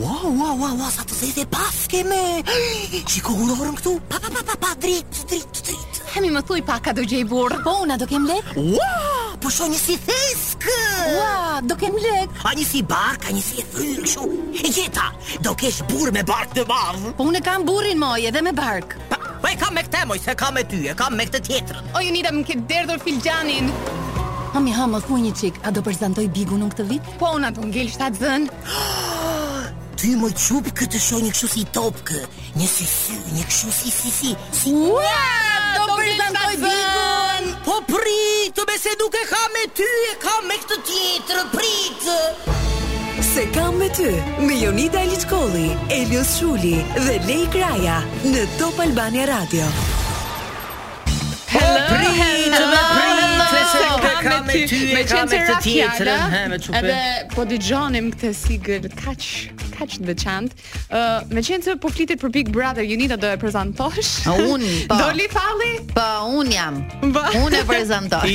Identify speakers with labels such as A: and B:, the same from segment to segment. A: ua, ua, ua, sa të zezë e paske me. Shiko urorën këtu. Pa, pa, pa, pa, pa, dritë, dritë, dritë.
B: Hemi më thuj pak a do gjej burr. Po una do kem lek.
A: Ua, po shoh një si theskë.
B: Ua, do kem lek.
A: A një si bark, a një si e fryrë, kështu. E gjeta, do kesh burr me bark të madh.
B: Po unë e kam burrin moj edhe me bark.
A: Pa, pa e kam me këtë moj, se kam me ty, e kam me këtë tjetrën.
B: O Jonida më ke derdhur filxhanin. Hami ha, më thuj një çik, a do prezantoj Bigun unë këtë vit? Po una do ngel 7 zën.
A: Ty më qup këtë shoh një kështu si topkë, një si sy, një kështu si si si. si.
B: Ua,
A: do prezantoj Bigun. Po prit, me se nuk e kam me ty, e kam me këtë tjetrën, prit.
C: Se kam me ty, me Jonida Eliçkolli, Elios Shuli dhe Lej Kraja në Top Albania Radio.
A: Po prit, me prit, se
D: Oh,
A: nuk e kam me ty,
E: me
A: e kam me këtë tjetrën.
E: fjala,
A: He, me çupë.
E: Edhe po dëgjonim këtë sigël kaq kaq të veçantë. Ë, meqense po flitet për Big Brother, Unita do e prezantosh.
D: A, unë, po.
E: Doli falli?
D: Po, unë jam.
E: Ba.
D: Unë e prezentoj.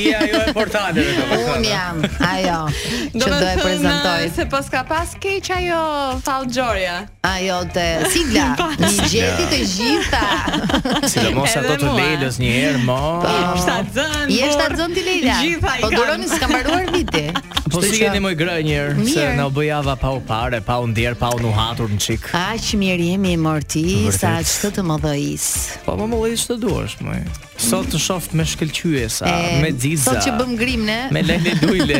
F: I ajo e portaleve të
D: Unë jam, ajo, që do e
E: thënë,
D: prezentoj.
E: Se pas ka pas keq ajo fallxorja.
D: Ajo të sigla, një gjeti të gjitha.
F: Si do mos
E: Edhe
F: ato të
E: mua.
F: lelës një herë, mo.
E: Sa zën.
D: Oh. Je
E: burr.
D: shtatë zënë ti Leila.
E: Gjitha i
D: Po
E: kam.
D: duroni s'ka mbaruar viti.
F: Po
D: Kështu
F: si
D: që
F: jeni moj grë një herë, se
D: Mirë.
F: na u bëjava pa u pare, pa u ndjer, pa u nuhatur në çik.
D: Aq mirë jemi morti
F: Vërtet.
D: sa ç'të të mëdhëis.
F: Po më mëllë ç'të duash, më. Sot të shoh me shkëlqyesa,
D: E,
F: me xiza.
D: Sot që bëm grim ne.
F: me lele dujle,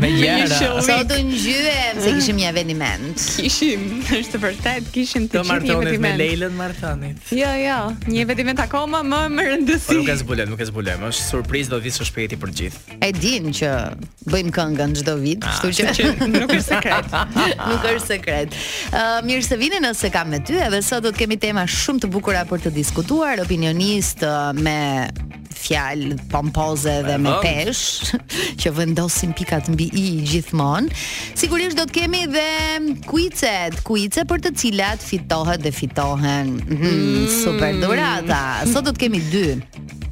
F: me gjëra.
D: Sot do ngjyhem se kishim një eveniment.
E: Kishim, është vërtet, kishim
F: Të
E: të gjithë një
F: martonit me
E: vetiment.
F: Leilën Martanit.
E: Jo, jo, një vetiment akoma më më
F: Po
E: rëndësi.
F: nuk e zbulem, nuk e zbulem. Është surprizë do vi së shpejti për gjithë.
D: E din që bëjmë këngën çdo vit, kështu që
E: Ah. Nuk është sekret.
D: nuk është sekret. Uh, mirë se vini nëse kam me ty, edhe sot do të kemi tema shumë të bukura për të diskutuar, opinionist uh, me fjalë pompoze dhe me
F: Vend.
D: pesh që vendosin pikat mbi i gjithmonë. Sigurisht do të kemi dhe kuicet, kuice për të cilat fitohet dhe fitohen. Mhm,
E: Mm.
D: super dhurata. Sot do të kemi dy.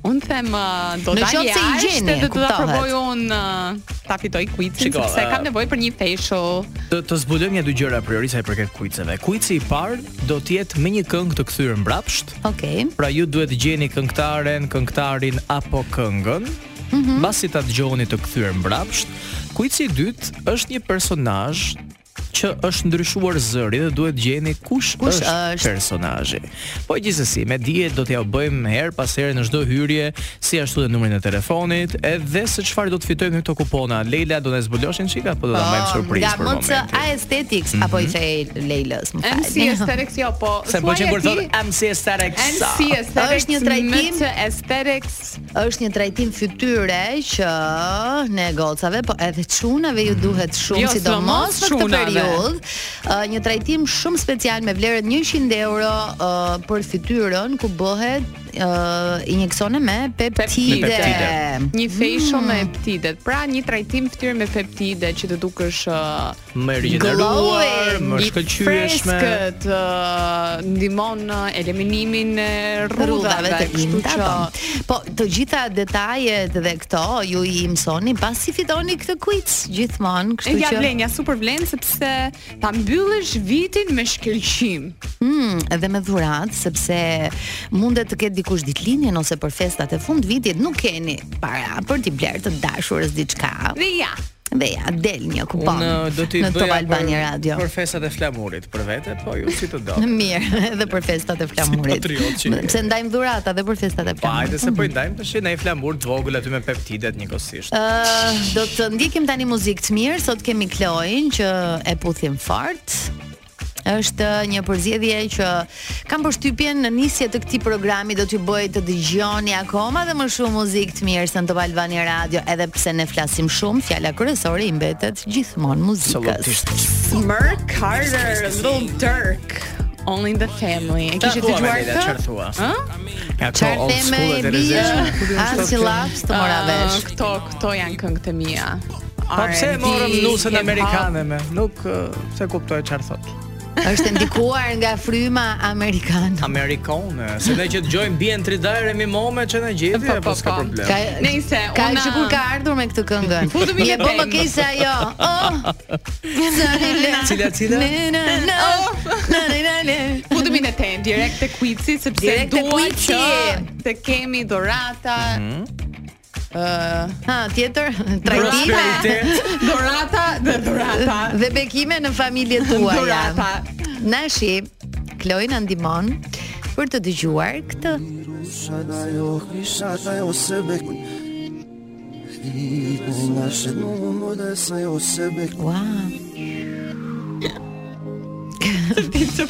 E: Unë them uh, do
D: Në
E: dal
D: qoftë se i
E: jashtë
D: gjeni,
E: dhe do ta
D: kuptohet.
E: provoj unë uh, ta fitoj quizin
F: Shiko, uh,
E: sepse
F: ë,
E: kam nevojë për një facial.
F: Do të zbulojmë një dy gjëra a priori sa i përket kuiceve. Kuici i parë do të jetë me një këngë të kthyer mbrapsht.
D: Okej.
F: Pra ju duhet të gjeni këngëtaren, këngëtarin apo këngën.
D: Mhm.
F: Mbasi ta dëgjoni të kthyer mbrapsht. Kuici i dytë është një personazh që është ndryshuar zëri dhe duhet gjeni kush,
D: Kush
F: është,
D: është?
F: personazhi. Po gjithsesi, me dije do t'ja u bëjmë her pas here në çdo hyrje, si ashtu dhe numrin e telefonit, edhe se çfarë do të fitojmë në këto kupona. Leila do na zbuloshin çika apo do ta bëjmë
D: Po,
F: surprizë
D: nga
F: për
D: MC
F: momentin?
D: Aesthetics apo i thej Leilës, më fal.
E: MC Aesthetics jo, po
F: Se po që
E: thuaje
F: kur
E: ti,
F: thot MC Aesthetics.
E: MC Aesthetics
D: Është një trajtim.
E: MC Aesthetics.
D: është një trajtim fytyre që ne gocave, po edhe çunave ju duhet shumë,
E: Jo,
D: sidomos
E: sidomos
D: në këtë
E: çunave.
D: periudhë, ë, një trajtim shumë special me vlerën 100 euro ë, për fytyrën ku bëhet ë, injeksione me peptide.
F: Me peptide.
E: Një
D: Mm.
E: facial me peptidet. Pra një trajtim fytyrë me peptide që të dukesh uh,
F: më rigjeneruar,
D: Glowing,
F: më
E: i
F: shkëlqyeshme.
E: Freskët, ë, ndihmon në eliminimin e
D: rrudhave
E: rrudhave,
D: të
E: kështu
D: imta.
E: që
D: po. Po, të gjitha detajet dhe këto ju i mësoni pasi fitoni këtë quiz gjithmonë,
E: E
D: kështu
E: ja
D: që
E: vlen, ja super vlen sepse ta mbyllësh vitin me shkëlqim.
D: Mm, edhe me dhuratë sepse mundet të ketë dikush ditëlindjen ose për festat e fund vitit nuk keni para për t'i bler të dashurës diçka.
E: Dhe ja,
D: Dhe ja, del një kupon.
F: Unë do t'i
D: në
F: bëja
D: Top Albani
F: për,
D: Radio.
F: për festat e flamurit, për vete, po ju si të do.
D: Mirë, edhe për festat e
F: Si
D: flamurit.
F: patriot që je.
D: Pse ndajmë dhurata edhe për festat e
F: Po hajde
D: flamurit.
F: se po i ndajmë tash në i flamur të vogël aty me peptidet njëkohësisht.
D: Ë, do të ndjekim tani muzikë të mirë. Sot kemi Kloin që e puthim fort. Është një përzjedhje që kam përshtypjen në nisje të këtij programi do t'ju bëj të dëgjoni akoma dhe më shumë muzikë të mirë se në Top Albani Radio, edhe pse ne flasim shumë, fjala kryesore i mbetet gjithmonë muzikës.
F: Absolutisht.
E: Merk Carter, Little Dirk, Only in the Family. E kishit
F: Çfarë thua,
E: dëgjuar
F: Melina,
E: këtë?
F: çfarë thua?
E: Ë?
F: Nga ato
D: Çfarë
F: old
D: theme
F: school
D: e
F: e
D: bie?
F: rrezikshme.
D: As i laps të mora
E: Ë,
D: vesh.
E: Ah, Këto, këto janë këngët e mia.
F: Po pse e morëm nusën
E: hip-hop.
F: amerikane me? Nuk ë, se kuptoj çfarë thot.
D: është ndikuar nga fryma amerikane.
F: Amerikane, se ne që dëgjojmë bien tridajre mi mome që ne gjeti
E: Po, po,
F: apo s'ka
E: po.
F: problem.
D: Ka
E: Nejse,
D: ka
E: una-
D: që kur ka ardhur me këtë këngën.
E: Futëm i
D: Je bë
E: lëpem.
D: më keq se ajo. Oh.
F: Cila, cila?
D: Ne, na, na, na, na, na, na.
E: Futemi në temë direkt te quizi sepse
D: Direkt te
E: dua
D: quizi.
E: që të kemi dhurata,
F: Mhm.
D: Ha, tjetër trajtime
F: Prosperitet.
E: dhurata dhe dhurata.
D: dhe bekime në familje tuaja.
E: Dhurata.
D: Nashi Kloi na ndihmon për të dëgjuar këtë. Ua,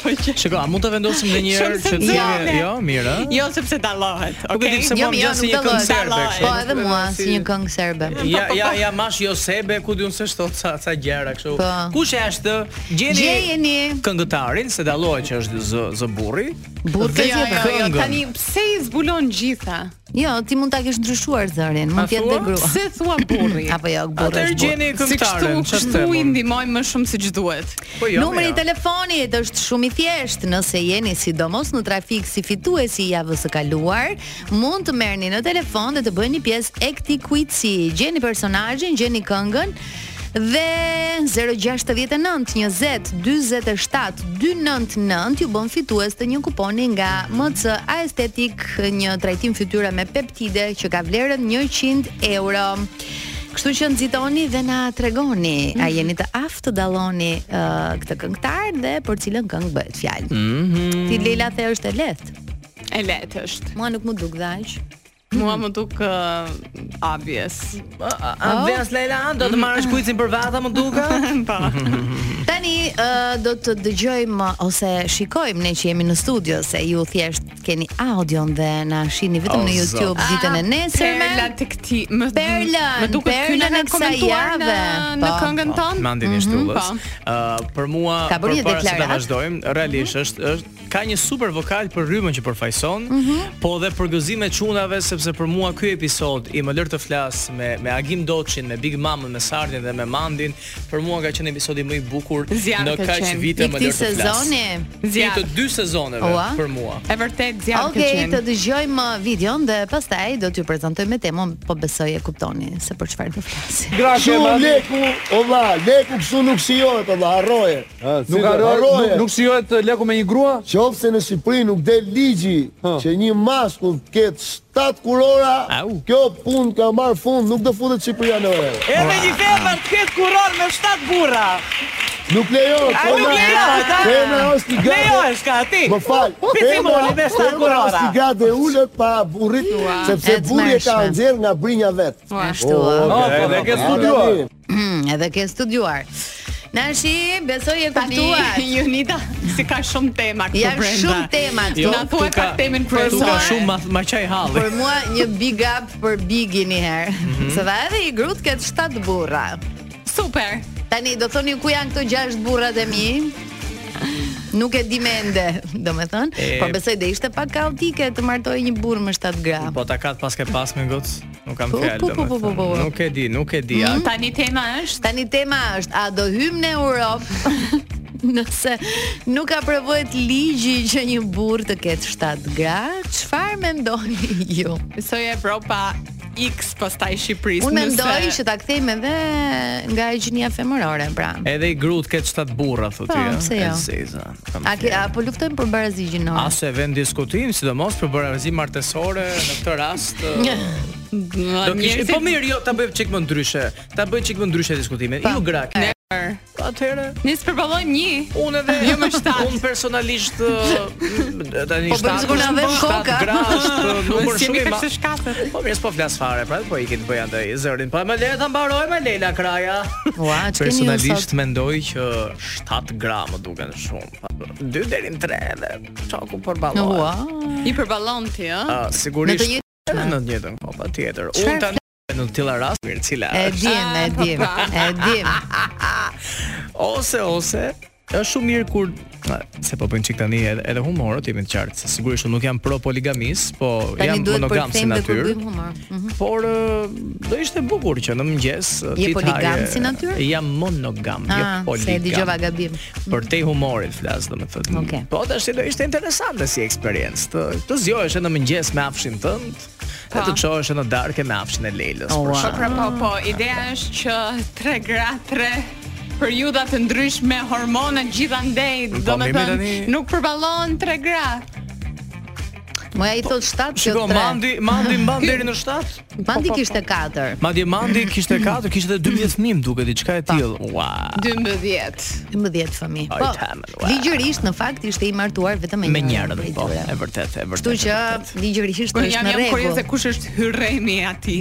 E: po
F: Shiko, a mund ta vendosim ndonjëherë
E: Shumë
F: që të
E: sensuale.
F: jemi jo, mirë, ë?
E: Jo sepse dallohet,
F: Nuk e di
E: okay?
F: pse mua
D: Jo,
F: më
D: jo,
F: gjen si
D: nuk
F: një
D: do
F: këngë
D: lloj.
F: serbe.
E: Dallohet.
F: kështu.
D: po edhe mua si një këngë serbe.
F: Ja, ja, ja mash jo sebe, ku diun se shtot sa sa gjëra kështu.
D: Po.
F: Kush është? Gjeni
D: Gjejeni
F: këngëtarin se dallohet që është zë, zë burri.
D: burrë
F: Dhe
D: të
E: Jo, jo,
D: tjetër.
E: jo,
F: Këngën.
E: tani pse i zbulon gjitha?
D: Jo, ti mund ta kesh ndryshuar zërin, mund të jetë dhe
F: thua?
D: grua.
E: Pse thua burri?
D: Apo jo, burrë
F: Atëherë
D: është burrë.
F: gjeni
E: Si
F: këngëtaren,
E: kështu,
F: ç'është?
E: kështu i
F: tema?
E: ndihmojmë më shumë siç duhet.
F: Po jo.
D: Numri i
F: mirë.
D: telefonit është shumë i thjeshtë. Nëse jeni sidomos në trafik si fituesi i javës së kaluar, mund të merrni në telefon dhe të bëni pjesë e këtij quizi. Gjeni personazhin, gjeni këngën dhe 069 20 47 299 ju bën fitues të një kuponi nga MC Aesthetic, një trajtim fytyre me peptide që ka vlerën 100 euro. Kështu që nxitoni dhe na tregoni, a jeni të aftë të dalloni ë, këtë këngëtar dhe për cilën këngë bëhet fjalë. Ti Leila the është e lehtë.
E: E lehtë është.
D: Mua nuk më duk dhash.
E: Mua më duk uh, obvious.
F: A- a- Andreas Leila, do të marrësh kuicin për vata, më duka?
E: Po.
D: Tani ë, do të dëgjojmë ose shikojmë ne që jemi në studio se ju thjesht keni audion dhe na shihni vetëm
F: O,
D: në YouTube ditën e nesërme.
E: Perla të këti Më,
D: Perlën,
E: më duket
D: perlën
E: kyna
D: e
E: në
D: kësaj
E: komentuar në,
D: jave.
E: në
D: Po,
E: këngën tonë
F: Më ndjen ishte ullës.
E: po.
F: Ë për mua
D: Ka bërë një
F: përpara se ta
D: deklaratë?
F: vazhdojmë, realisht
E: Mhm.
F: është është ka një super vokal për rrymën që përfaqëson,
E: Mhm.
F: po dhe për gëzimet çunave sepse për mua ky episod i më lër të flas me me Agim Doçin, me Big Mamën, me Sardin dhe me Mandin, për mua ka qenë episodi më i bukur
E: Zjarr
F: në
E: të
F: kaq
E: qenë.
F: vite
D: I
F: më
D: këtij
F: lër të flas.
D: sezoni.
F: I
E: Zjarr.
F: të dy sezoneve
D: Ua.
F: për mua.
E: E vërtet zjarr
D: Okej,
E: okay, të
D: të
E: qenë.
D: dëgjojmë uh, videon dhe pastaj do t'ju prezantojmë temën, po besoj e kuptoni se për çfarë do flasim.
G: Kështu leku, o vlla, leku kështu nuk shijohet, o vlla, harroje. Nuk harroje.
H: Ah, Nuk shijohet uh, leku me një grua? Ah.
G: Qofse në Shqipëri nuk del ligji që një maskull të ketë 7 kurora,
F: Au.
G: kjo punë ka marr fund, nuk do futet Shqipëria në orë.
I: Edhe një femër të ketë kuror me 7 burra.
G: Nuk lejohet.
I: A
G: po,
I: nuk
G: na-
I: lejohet, a?
G: Femra është i gatë.
I: Lejohesh ka jo, ti.
G: Më fal.
I: Pitimoni me 7 kurora.
G: është i gatë e ulët para burrit, sepse
D: E të
G: burri e ka
D: mërshme.
G: nxjerr nga brinja vet.
D: Ashtu. ë.
G: O,
H: Po,
G: okay,
H: po, dhe
G: na,
H: ke
G: na,
H: studiuar.
G: tani.
D: Mm, edhe ke studiuar. Nashi, besoj e
E: Tani,
D: kuptuat.
E: Junida, si ka shumë tema këtu
D: Janë
E: brenda.
D: shumë tema këtu.
E: Jo, Na thuaj
F: tu
E: pak temën
F: Tu ka
E: kryesore.
F: shumë ma, ma qaj halli.
D: Për mua një big up për Bigi një herë. Se dha edhe i grut ket 7 burra.
E: Super.
D: Tani do thoni ku janë këto 6 burrat e mi? Nuk e di mende, domethënë,
F: E-
D: po besoj dhe ishte pak kaotike të martoj një burr me 7 gra.
F: Po ta kat pas ke pas me goc, nuk kam
D: Po,
F: fjalë.
D: po, po, po, po, po.
F: domethënë. Nuk e di, nuk e di. a-
D: Mm?
E: Tani tema është
D: Tani tema është a do hym në Europë nëse nuk aprovohet ligji që një burr të ketë 7 gra, çfarë mendoni ju?
E: Soj Evropa X pastaj Shqipërisë.
D: Unë
E: nëse-
D: mendoj që ta kthejmë edhe nga higjinia femërore, pra.
F: Edhe i grut ket 7 burra thotë
D: Po,
F: ti,
D: pse
F: E
D: jo?
F: seza. kam
D: A, ke, a po luftojmë për barazi gjinore?
F: A se vend diskutim, sidomos për barazi martesore në këtë rast. ë, Do kishte
E: Njerëzit-
F: po mirë, jo, ta bëj çik më ndryshe. Ta bëj çik më ndryshe diskutimin.
D: Po.
F: Ju gra. Atëherë
E: Ne përballojmë një.
F: Unë edhe
E: Jo me shtatë.
F: Unë personalisht ë, m, tani
D: Po, bëjmë sikur
F: është
D: na vënë
F: bërë, shtatë
D: koka.
F: gra është
E: Si
F: numër po, shumë i
E: kaq
F: madh.
E: të shkatët.
F: Po mirë, s'po flas fare, pra po i këtë bëj andaj zërin. Po më le ta mbaroj me Leila Kraja.
D: Ua, që keni ju
F: Personalisht
D: sot?
F: mendoj që 7 gra më duken shumë. 2 deri në 3 edhe çoku për ballon.
D: Ua,
E: I përballon ti, ë?
F: Uh,
D: në
F: sigurisht
D: të jetë
F: në të njëjtën, po patjetër. Unë
D: Çfarë
F: tani në të tilla rast, mirë, cila
D: E
F: është?
D: dim, e dim, e dim.
F: Ose ose është shumë mirë kur a, se po bën çik tani edhe, edhe humorët jemi të qartë. se Sigurisht unë nuk jam pro poligamis, po
D: Tani
F: jam
D: duhet
F: monogam si
D: përkthejmë dhe kur
F: natyrë.
D: bëjmë humor. Mhm.
F: Por ë, do ishte bukur që në mëngjes ë,
D: Je
F: ti të
D: poligam
F: haje-
D: si natyrë?
F: Jam monogam, jo
D: Ah,
F: poligam.
D: se e dëgjova gabim.
F: Për te humorit flas domethënë.
D: Okej.
F: Po tash do ishte interesante si eksperiencë. Të, të zgjohesh edhe në mëngjes me afshin tënd, e të çohesh në darkë me afshin e Lelës.
D: Oh,
F: për
D: wow.
F: shemb.
E: Pra po, po, ideja është që tre gra, tre periudha të ndryshme hormone gjithandej,
F: Po,
E: do me
F: mirë,
E: thënë,
F: tani-
E: nuk përballon tre gra.
D: Moja i thot 7 që
F: Po, Shiko,
D: 3.
F: Mandi, Po, Mandi mban deri në 7.
D: Mandi kishte 4.
F: Madje Mandi kishte 4, kishte edhe 12 fëmijë, më duket diçka e tillë. Ua.
E: 12.
D: 12 fëmijë.
F: Ai,
D: Po.
F: tamen, ua.
D: Ligjërisht në fakt ishte i martuar vetëm me
F: Me
D: njërin
F: njerën,
D: prej
F: po,
D: tyre.
F: e vërtet, e vërtet.
D: Kështu që
F: e vërtet.
D: ligjërisht
E: Kur
D: është
E: jam
D: në
E: jam kurioze
D: rregull.
E: kush është hyrremi aty.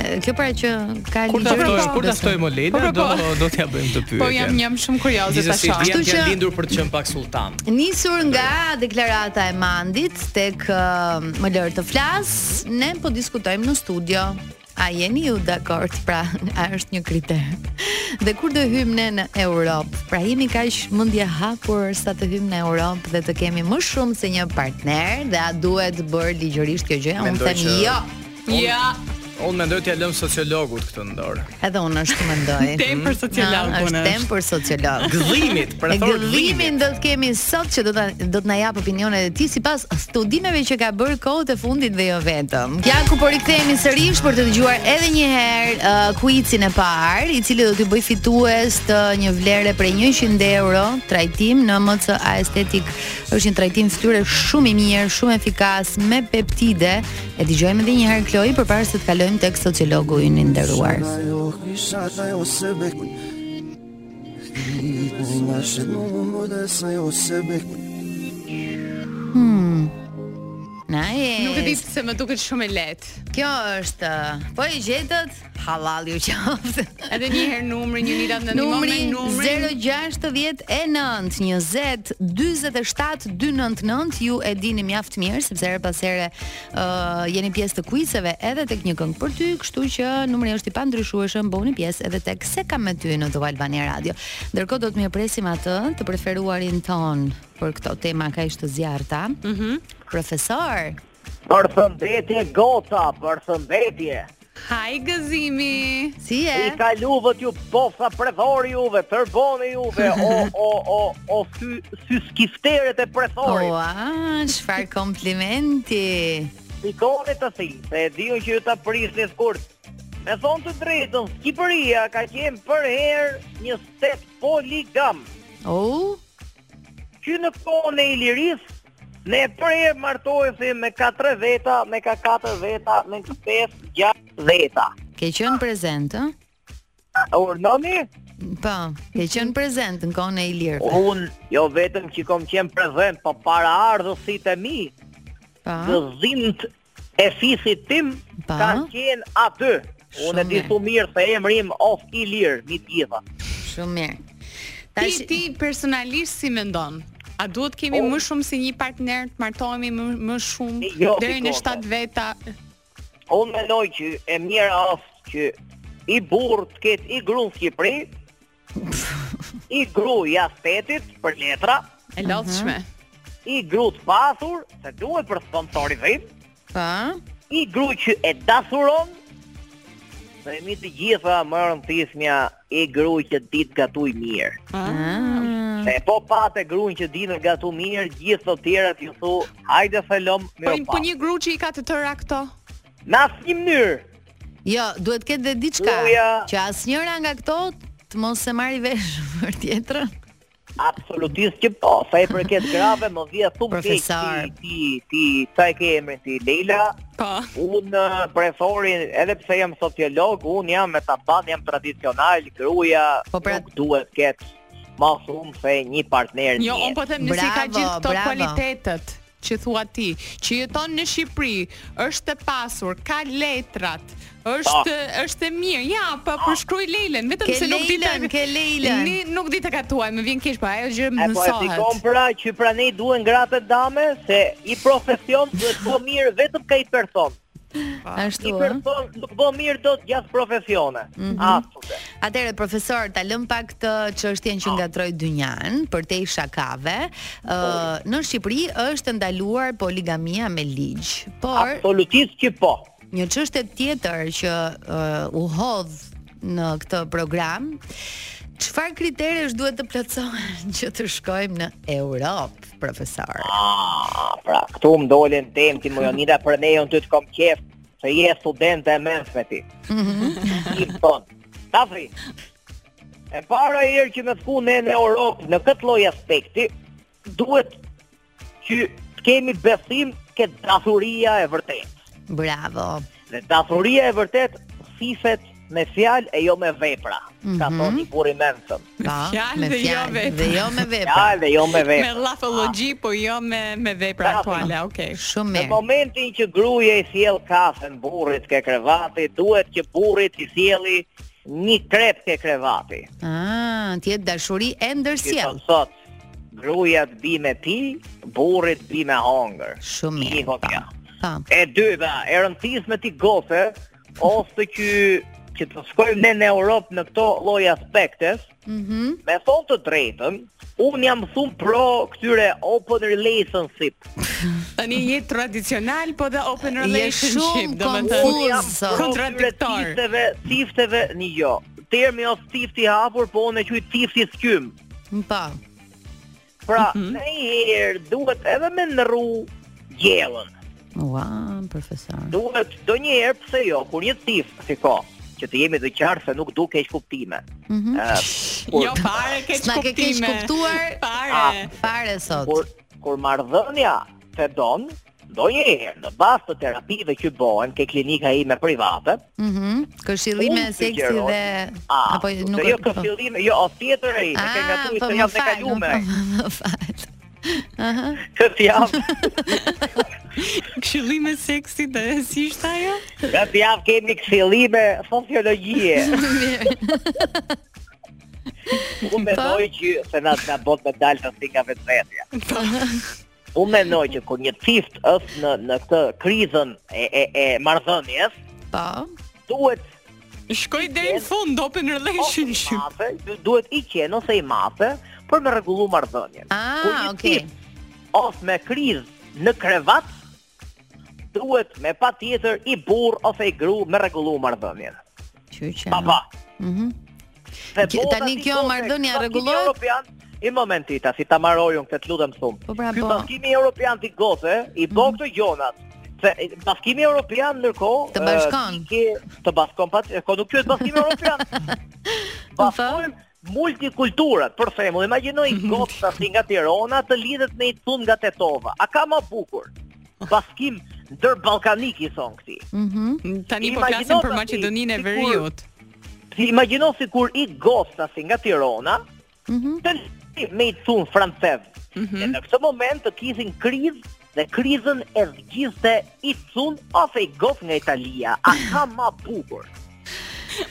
D: E, Kjo pra që ka
F: Kur ta
D: ligjërisht.
F: ftoj, kur ta
D: besoj.
F: ftoj Molena,
E: Po, po,
F: do
E: po.
F: do t'ja bëjmë të pyetje.
E: Po jam jam shumë kurioze tash.
F: Gjithsesi, ti jam
D: Kështu që-
F: lindur për të qenë pak sultan.
D: Nisur nga deklarata e Mandit tek ë, më lër të flas, ne po diskutojmë në studio. A jeni ju dakord? Pra, a është një kriter. Dhe kur do hymë ne në Europë? Pra jemi kaq mendje hapur sa të hymë në Europë dhe të kemi më shumë se një partner dhe a duhet bërë ligjërisht kjo gjë? Unë
F: Mendoj
D: them
F: që-
D: jo.
E: Ja,
F: Unë mendoj t'ja lëm sociologut këtë ndorë.
D: Edhe unë ashtu mendoj.
F: Mhm.
E: tem për
D: Ah,
E: sociologun
D: është tem për sociolog.
F: Gëllimit, për
D: E
F: e thorë
D: gëllimin do të kemi sot që do ta do të na jap opinionet e tij sipas studimeve që ka bërë kohët e fundit dhe jo vetëm. Ja ku po rikthehemi sërish për të dëgjuar edhe një herë uh, kuicin e parë, i cili do t'ju bëj fitues të një vlere prej 100 euro trajtim në MC Aesthetic. Është një trajtim fytyre shumë i mirë, shumë efikas me peptide. E dëgjojmë edhe një herë Kloi përpara se të kalojmë tek sociologu ynë i nderuar. Na e.
E: Nuk e di pse më duket shumë e lehtë.
D: Kjo është, po e gjetët, halal ju qoftë.
E: Edhe një herë numri, një nida në
D: Numri
E: numri, numri.
D: 069 20 47 299 ju e dini mjaft mirë sepse her pas here uh, jeni pjesë të kuiseve edhe tek një këngë për ty, kështu që numri është i pandryshueshëm, bëuni pjesë edhe tek se kam me ty në Top Albania Radio. Ndërkohë do të mirëpresim atë të preferuarin ton për këto tema kaq të zjarta. Mhm. Profesor,
I: Përshëndetje goca, përshëndetje.
E: Haj gëzimi.
D: si
I: I
D: je?
I: kaluvët ju bosa predhori juve, tërboni juve, o o o o sy sy skifteret e predhorit.
D: Ua, çfarë komplimenti.
I: Sikoni të si, se e diun që ju ta prisni skurt. Me thonë të drejtën, Skipëria ka qenë për herë një stet poligam.
D: Oh,
I: Që në kohën e Iliris, ne për herë martohemi me 4 veta, me ka 4 veta, me 5, 6 veta.
D: ke qenë prezent, ë?
I: A urnoni?
D: Po, ke qenë prezent në kohën e Ilirëve.
I: Unë jo vetëm që kom qenë prezent, po para ardhësit e mi,
D: Po.
I: gëzimt e fisit tim,
D: Pa.
I: kanë qenë aty. Unë e di
D: Shumë
I: shumë mirë se emri im of Ilir, mi tjetër.
D: Shumë mirë.
E: Ti
D: Tash Po.
E: ti personalisht si mendon? A duhet kemi
I: O.
E: më shumë se një partner të martohemi më, më shumë
I: Jo,
E: deri në
D: po.
I: Nikola.
E: 7 veta?
I: Po Unë mendoj që e mjera është që i burë të ketë i gru në Shqipëri, i gru ja stetit për letra,
E: E
D: Mhm.
E: lodhshme.
I: i gru të pasur, se duhet për sponsorizim,
D: po.
I: i gru që e dasuron, dhe mi të gjitha më rëndësishmja i gru që ditë gatuj mirë.
D: Ah,
I: Se po patë e gruin që dinë gatu mirë, gjithë të tjerat ju thu, hajde falom,
E: Po,
D: Jo,
I: mirë po,
E: po një gru që i ka të tëra këto.
I: Në asë një mënyrë,
D: Jo, duhet të ketë dhe diçka
I: Uja.
D: që asnjëra nga këto të mos e marri vesh për tjetrën.
I: Absolutisht që po, sa i përket grave, më vjen thumë keq
D: Profesor.
I: ti, ti, ti, sa e ke emrin ti, Leila,
E: Po.
I: unë preferin, edhe pse jam sociolog, unë jam me taban, jam tradicional, gruaja
D: Po, pra-
I: nuk duhet ketë ma shumë se një partner
E: Jo, un po them nëse i ka
D: Bravo,
E: gjithë këto
D: bravo.
E: kualitetet që thua ti, që jeton në Shqipëri, është e pasur, ka letrat, është është e mirë. Ja, po përshkruaj Lelen, vetëm
D: Ah. Ke
E: se nuk di ta
D: Leilën, ke Leilën.
E: Ni nuk di ta katuaj, më vjen keq po ajo gjë
I: E po e fikon
E: mësohet.
I: pra që pra ne i duhen gratë e dame se i profesion duhet po mirë vetëm ka i person.
D: Ashtu
I: I
D: ë.
I: person nuk po mirë do të gjatë profesione. Mm -hmm.
D: Atëre profesor, ta lëm pak të çështjen që ngatroi dynjan për te i shakave. Ë në Shqipëri është ndaluar poligamia me ligj, por
I: Absolutisht që po.
D: Një çështje tjetër që uh, u hodh në këtë program, çfarë kriteresh duhet të plotësohen që të shkojmë në Europë, profesor?
I: Ah, pra, këtu më dolën temë ti më jonida për ne unë ty të kom qef se je student e mens me ti. I bon. Tafri. E para e herë që me thku ne në Europë në këtë lloj aspekti, duhet që të kemi besim ke dashuria e vërtetë.
D: Bravo.
I: Dhe dashuria e vërtet sifet me fjalë e jo me vepra. Ka thonë një burri mendshëm.
D: Pa,
E: fjalë
D: Po, me
E: dhe jo
D: fjalë
E: vepra.
D: dhe jo me vepra.
I: Fjalë e jo me
E: Me
I: vepra.
E: lafologi, po jo me me vepra
I: Bravo.
E: aktuale. Okej.
D: Shumë
I: Në
D: mirë.
I: momentin që gruaja i sjell kafen burrit ke krevati, duhet që burrit i sjelli një krep ke krevati.
D: Ah, ti je dashuri e
I: Që
D: ndërsjell.
I: thot sot, gruaja të bi me pi, burri të bi me hangër.
D: Shumë
I: Një
D: mirë.
I: kokja.
D: Pa. Pa.
I: E dyta, e rëndësis me ti gose, ose që që të shkojmë ne në Europë në këto lloj aspektes,
D: Mhm.
I: me thonë të drejtën, unë jam shumë pro këtyre open relationship.
E: Tani je tradicional, po dhe open
D: Je
E: relationship,
D: shumë
I: Unë
D: konfuz.
I: jam po
D: Uzo.
I: pro këtyre
E: Kontradiktor.
I: cifteve, cifteve, një jo. Termi ose cifti i hapur, po unë e quaj cifti skym.
D: Pa.
I: Pra, në herë duhet edhe me nëru gjellën.
D: Ua, profesor.
I: Duhet do një herë pse jo, kur një cift si ka, që të jemi të qartë se nuk du keq kuptime.
D: Mhm.
I: Ë,
E: Jo fare keq
D: S'na ke keq
E: kuptime.
D: kuptuar.
E: Fare.
I: Ah.
D: Fare sot.
I: kur kur marrëdhënia të don, ndonjëherë në bazë të terapive që bëhen ke klinika ime private,
D: Mhm. Këshillime
I: Unë
D: seksi
I: sugjeroj-
D: dhe
I: a,
D: apo nuk
I: se jo
D: po.
I: ka fillim, jo o tjetër e ne ke
D: Ah,
I: gatuar
D: po
I: se
D: më
I: jam të
D: fal, më
I: kalume.
D: fal, më fal. Aha.
I: Këtë javë,
E: Këshillime seksi dhe si ishte ajo?
I: këtë javë kemi këshillime sociologjie. Unë mendoj që se na na bot me dalë të stika vetvetja. Unë mendoj që kur një cift është në në këtë krizën e e e marrëdhënies,
D: Po.
I: duhet
E: Shkoj deri në fund open
I: ose Oh, i
E: relationship.
I: mafe, du- duhet i qenë ose i mafe për me rregullu marrëdhënien. Kur
D: Ah,
I: një
D: okay.
I: tip Ose me krizë në krevat, duhet me patjetër i burr ose i gru me rregullu marrëdhënien.
D: Qyçe.
I: Pa pa.
D: Mhm.
I: Dhe
D: Që-
I: bota
D: tani
I: si
D: kjo
I: sot e
D: marrëdhënia
I: bashkimi
D: rregullohet?
I: Europian, I momenti ta si ta marroj unë këtë lutem shumë.
D: Po, pra,
I: Ky
D: po. Mhm.
I: bashkimi europian ti gote i bë këto gjonat. Se e, bashkimi europian ndërkohë
D: Të bashkon.
I: e, ti ke të bashkon pat, e, ko nuk ky është bashkimi europian. Bashkojmë multikulturat, për shembull, imagjinoj gotë ta si nga Tirana të lidhet në një tund nga Tetova. A ka më bukur? Bashkim ndër ballkanik i thon këtij.
D: Mhm.
E: Tani po
I: Imagjino
E: flasim për
I: tani,
E: Maqedoninë e
I: ah. sikur-
E: Veriut.
I: Si imagjino sikur i gosta si nga Tirana,
D: Mhm.
I: të lësi me i cunë francez. Dhe në këtë moment të kishin krizë dhe krizën e zgjiste i cunë ose i gof nga Italia. A ka ma bukur.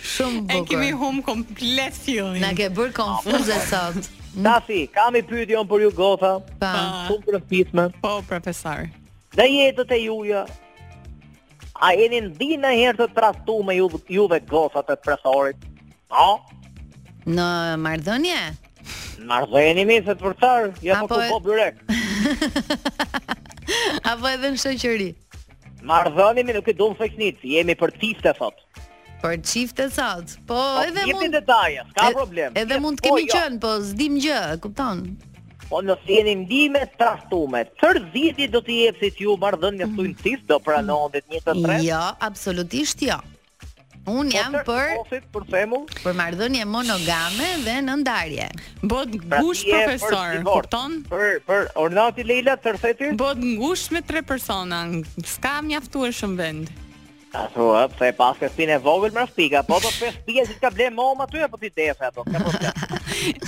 D: Shumë
E: E kemi
D: bukur.
E: hum komplet fillin.
D: Na ke bër konfuze sot.
I: Tafi, kam i pyetje unë për ju gota,
D: Mm. Pa.
E: Pa,
I: shumë për pisme,
E: po profesor.
I: dhe jetët e juja, a jeni ndi në herë të trastu me ju, juve gotat e presorit? Po, No,
D: Në marrëdhënie?
I: marrëdhëni mi se të përtar, ja
D: Apo
I: po ku
D: e-
I: po byrek.
D: Apo edhe në shoqëri?
I: Marrëdhëni mi nuk e duam feknit, jemi për cifte sot.
D: Për çifte sot. Po, edhe
I: Jepni
D: mund
I: detaje, s'ka
D: e-
I: problem.
D: Edhe
I: Jep,
D: mund të
I: po,
D: kemi
I: jo.
D: qenë, po s'dim gjë, e kupton?
I: Po nëse jeni ndime trastume, tërziti do t'i jep si t'ju marrëdhënie mm. thujnë cis, do pranohet një të tre. Po
D: Jo, absolutisht jo. Un jam për
I: Osit, për shembull,
D: për marrëdhënie monogame dhe në ndarje.
E: Bot
I: pra
E: ngush
I: ti je
E: profesor,
I: për divorc.
E: kupton?
I: Për për ornati Leila tërzeti?
E: Bot ngush me tre persona, ng- s'ka mjaftuar shumë vend.
I: Ashtu, ë, pse pas ke spinë e vogël me spika, po do pesë spika që ka ble mom aty apo ti deshe ato. Ka problem.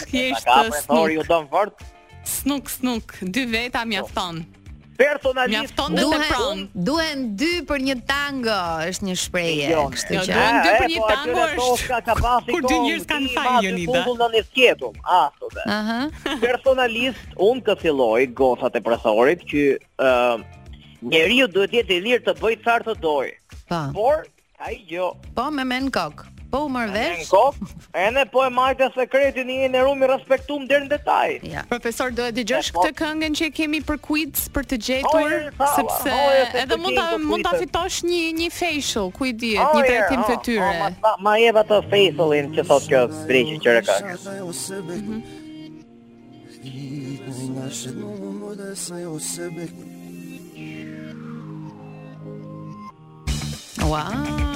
E: Thjesht
I: Ka
E: uh,
I: profesor po ju
E: snuk,
I: don fort.
E: snuk, snuk, dy veta mjafton.
I: Po. Personalisht
E: Mjafton dhe të pron.
D: Duhen duhen dy për një tango, është një shprehje,
I: Jo,
D: kështu
E: jo,
D: që.
E: duhen dy
I: e,
E: për një
I: po, atyre
E: tango është-
I: toska ka pasi
E: kur dy
I: kohë,
E: njerëz kanë
I: ti
E: faj,
I: ma dy
E: Jonida.
I: kutull në një skjetum, ashtu dhe.
D: Aha.
I: Personalisht, unë kësilloj gocat e presorit që uh, njeriu duhet jetë i lirë të bëjë çfarë të dojë.
D: Po.
I: Por ai jo,
D: Po me men kok. Po u mërë
I: Në
D: vesh?
I: kokë, edhe po e majtë sekretin i në rumi respektum deri në detaj.
D: Ja.
E: Profesor, do e dëgjosh
I: Po, po.
E: këtë këngën që e kemi për quiz për të gjetur,
I: Ojë, thala,
E: sepse
I: ojë, se të
E: edhe mund ta
I: gjej këto
E: mund ta
I: quizet.
E: fitosh një një facial, ku i dihet, një trajtim
I: Ma,
E: fytyre.
I: ma, ma jep atë facialin që thot kjo breqi që reka.
D: Ua,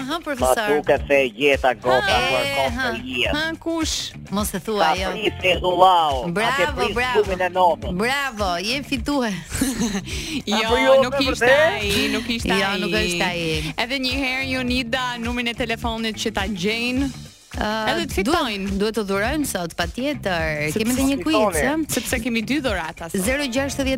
D: ha
I: Ma
D: profesor.
I: duket se e gjeta gota
D: Ha,
I: për
D: e,
I: po, kohë
D: ha.
I: të jetë.
E: Ha kush?
D: Mos e thua
I: Ka
D: jo.
I: prit e dhullau, atje
D: Bravo,
I: prit
D: bravo.
I: shumën e notës.
D: Bravo, je fitues.
E: Jo,
I: po jo,
E: nuk
I: me
E: ishte
I: vërtet?
E: ai, nuk ishte
D: Jo,
E: ai.
D: nuk është ai.
E: Edhe një herë Jonida numrin e telefonit që ta gjejnë,
D: Ë,
E: Edhe të fitojnë.
D: Duhet, duhet të dhurojmë sot, patjetër.
E: Sepse-
D: Kemi edhe një quiz,
I: Fitoni.
D: ëh.
E: sepse kemi dy dhurata. sot.
D: 069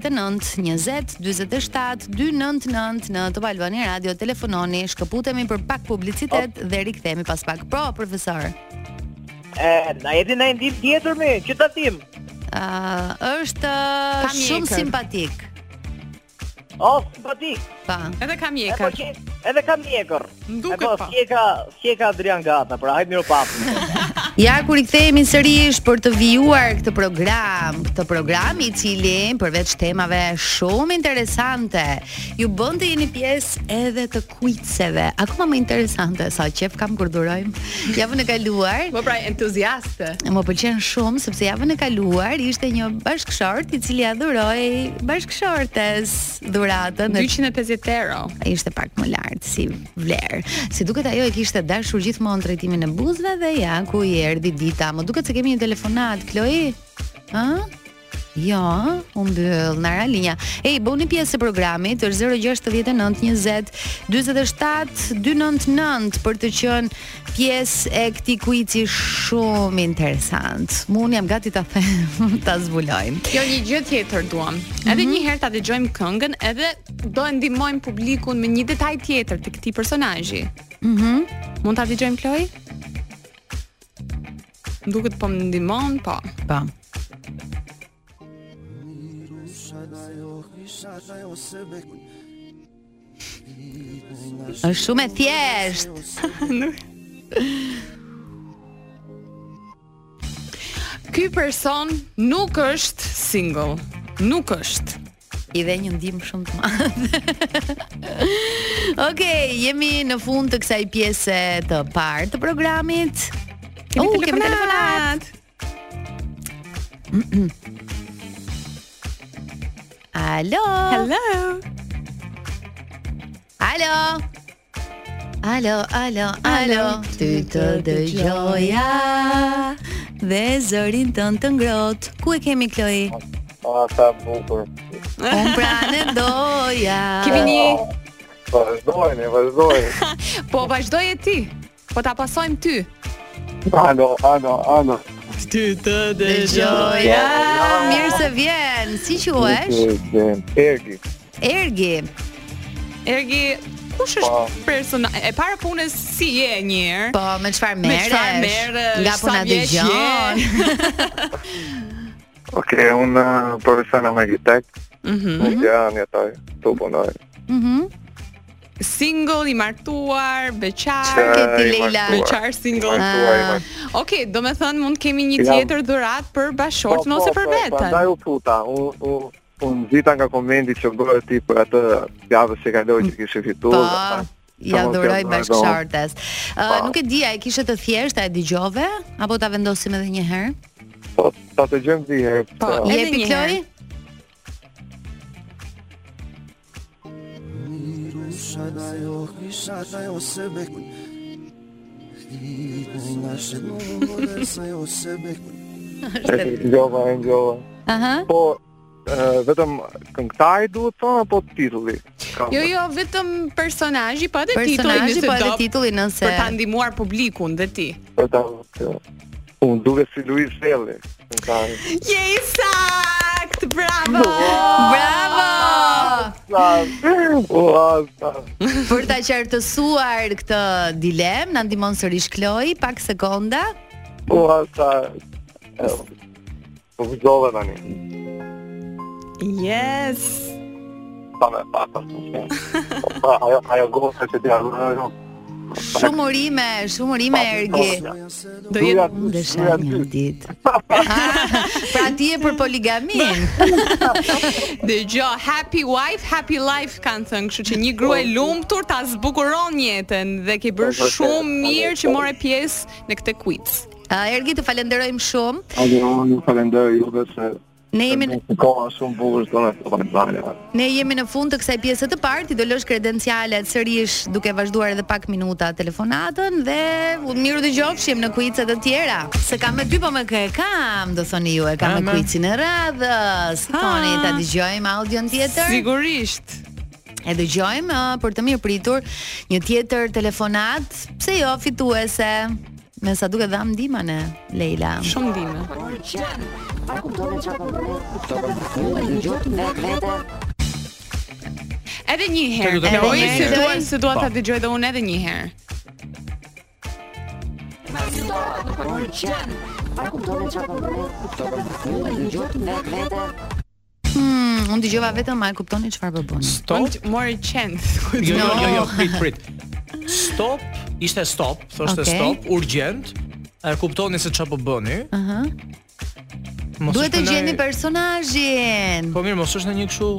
D: 20 47 299 në Top Albani Radio telefononi, shkëputemi për pak publicitet dhe rikthehemi pas pak. Po, profesor.
I: E, na jeti na ndim tjetër me, që ta tim.
D: ë është ë,
E: Kam
D: shumë
E: mjekër.
D: simpatik.
I: O, simpatik.
D: Pa.
E: Edhe kam
I: E po
E: mjekër.
I: që, edhe kam mjekër.
E: M'duket
I: E po,
E: pa.
I: skjeka, skjeka Adrian Gata, pra hajtë miru papë.
D: Ja kur i kthehemi sërish për të vijuar këtë program, këtë program i cili përveç temave shumë interesante, ju bën të jeni pjesë edhe të kuiceve, akoma më interesante sa qef kam kur durojmë. Javën e kaluar
E: Po pra entuziaste.
D: Më pëlqen shumë sepse javën e kaluar ishte një bashkëshort i cili adhuroi bashkëshortes dhuratën.
E: 250 euro.
D: Ishte pak më lart si vlerë. Si duket ajo e kishte dashur gjithmonë trajtimin e buzëve dhe ja ku i erdhi dita. Më duket se kemi një telefonat, Kloi. Ë? Jo, u mbyll Nara linja. Ej, bëuni pjesë e programit është 069 20 47 299 për të qenë pjesë e këtij kuici shumë interesant. Mu unë jam gati ta them, ta zbulojmë.
E: Jo një gjë tjetër duam. Edhe një herë ta dëgjojmë këngën, edhe do e ndihmojmë publikun me një detaj tjetër të këtij personazhi. Mhm. Mund ta dëgjojmë Kloj? Më Duket po më ndihmon, po.
D: Po. Është shumë e thjeshtë.
E: Ky person nuk është single. Nuk është.
D: I dhe një ndim shumë të madhe. Okej, jemi në fund të kësaj pjese të parë të programit.
E: Oh, Kemi
D: Uh,
E: telefonat.
D: Alo.
E: Hello.
D: Alo. Alo, alo, alo. Ty të dëgjoja dhe zërin tën të ngrohtë. Ku e kemi Kloi?
I: O, sa bukur.
D: Unë pranë doja.
E: Kemi një
I: Vazhdojnë, vazhdojnë.
E: po vazhdoje ti. Po ta pasojmë ty.
I: Ano, ano, ano.
D: dëgjoja. Mirë se vjen. Si quhesh?
I: Erdi.
D: Ergi.
E: Ergi, kush është
I: Po.
E: persona e para punës si je një herë?
D: Po, me çfarë
E: Me
D: merresh?
E: çfarë merresh?
D: Nga puna
E: Sa vjeç
D: dëgjon.
I: Ok, unë profesional arhitekt, në Gjerani ataj, tu punoj.
D: Mhm.
E: Single, i martuar, beqar.
D: Çfarë ke ti
I: i
D: Leila?
I: martuar.
E: Beqar single.
I: Martuar, i
D: Ah.
I: martuar.
E: Okej, do me thënë mund kemi një
I: Jam-
E: tjetër dhurat për bashortën ose për veten.
I: Po, Prandaj u futa, u u u nxita nga komenti që bëre ti për atë javën që kaloi që kishe
D: Po.
I: fituar.
D: Ja
I: Sa mos
D: dhuroj
I: jam
D: bashkëshortes. Ë
I: Po.
D: nuk e di, a e kishe të thjeshtë, a e dëgjove apo ta vendosim edhe një herë?
I: Po, ta të gjëm di herë.
E: Po,
I: Po,
E: Edhe
D: Jepi
E: një
D: Kloj?
E: herë.
I: e dëgjova, e dëgjova.
D: Aha.
I: Po, e, vetëm këngëtari duhet thonë apo titulli? Ka-
E: Jo, jo, vetëm personazhi, po edhe titulli
D: Personazhi
E: nëse
D: po edhe
E: do.
D: titulli nëse
E: Për ta ndihmuar publikun dhe ti.
I: Për ta. Unë duket si Luis Selli. Këngëtari.
E: Je i sakt! Bravo!
D: Bravo!
I: Ua, sa.
D: Për ta qartësuar këtë dilem, na ndihmon sërish Kloj pak sekonda.
I: Ua, sa. E, Po vëgjove tani.
E: Yes!
I: Pa me pa, pa. Po, pa, ajo, ajo gota që ti arruaj,
D: Shumë urime, shumë urime Ergi.
E: Do jetë
D: Ndeshëm një ditë. Ah, pra ti je për poligamin.
E: Dhe gjo, happy wife, happy life kanë thënë, kështu që një grua e lumtur ta zbukuron jetën dhe ke bërë shumë mirë që more pjesë në këtë quiz.
D: Ah, Ergi të falenderojmë shumë.
H: Ani, unë ju falenderoj juve se
D: Ne jemi në
H: në kohë shumë bukur të në të përbalja.
D: Ne jemi në fund të kësaj pjese të parë, ti do lësh kredencialet sërish duke vazhduar edhe pak minuta telefonatën dhe u miru dëgjofshim në kuicet e tjera. Se kam me dy po me kë e kam, do thoni ju, e kam me
F: Ama.
D: kuicin e radhës. Thoni ta dëgjojmë audion tjetër.
E: Sigurisht.
D: E dëgjojmë ë, për të mirë pritur një tjetër telefonat, pse jo fituese. Me sa duke dham ndihma ne, Leila.
E: Shumë ndime. Edhe një herë.
F: Të lutem,
E: Kloi,
D: edhe një
E: se
D: herë.
E: duan se dua ta
F: Po.
E: dëgjoj edhe unë edhe një herë.
D: Hmm, unë dëgjova vetëm, a e kuptoni çfarë po bën?
F: Stop.
E: Unë More qend.
F: Jo, jo, jo, jo,
D: No.
F: prit, prit. Stop, ishte stop, thoshte
D: Okej.
F: stop, urgjent. E kuptoni se çfarë po bëni?
D: Aha.
F: Mos
D: Duhet të
F: është në-
D: gjeni personazhin.
F: Po mirë, mos është në një kështu.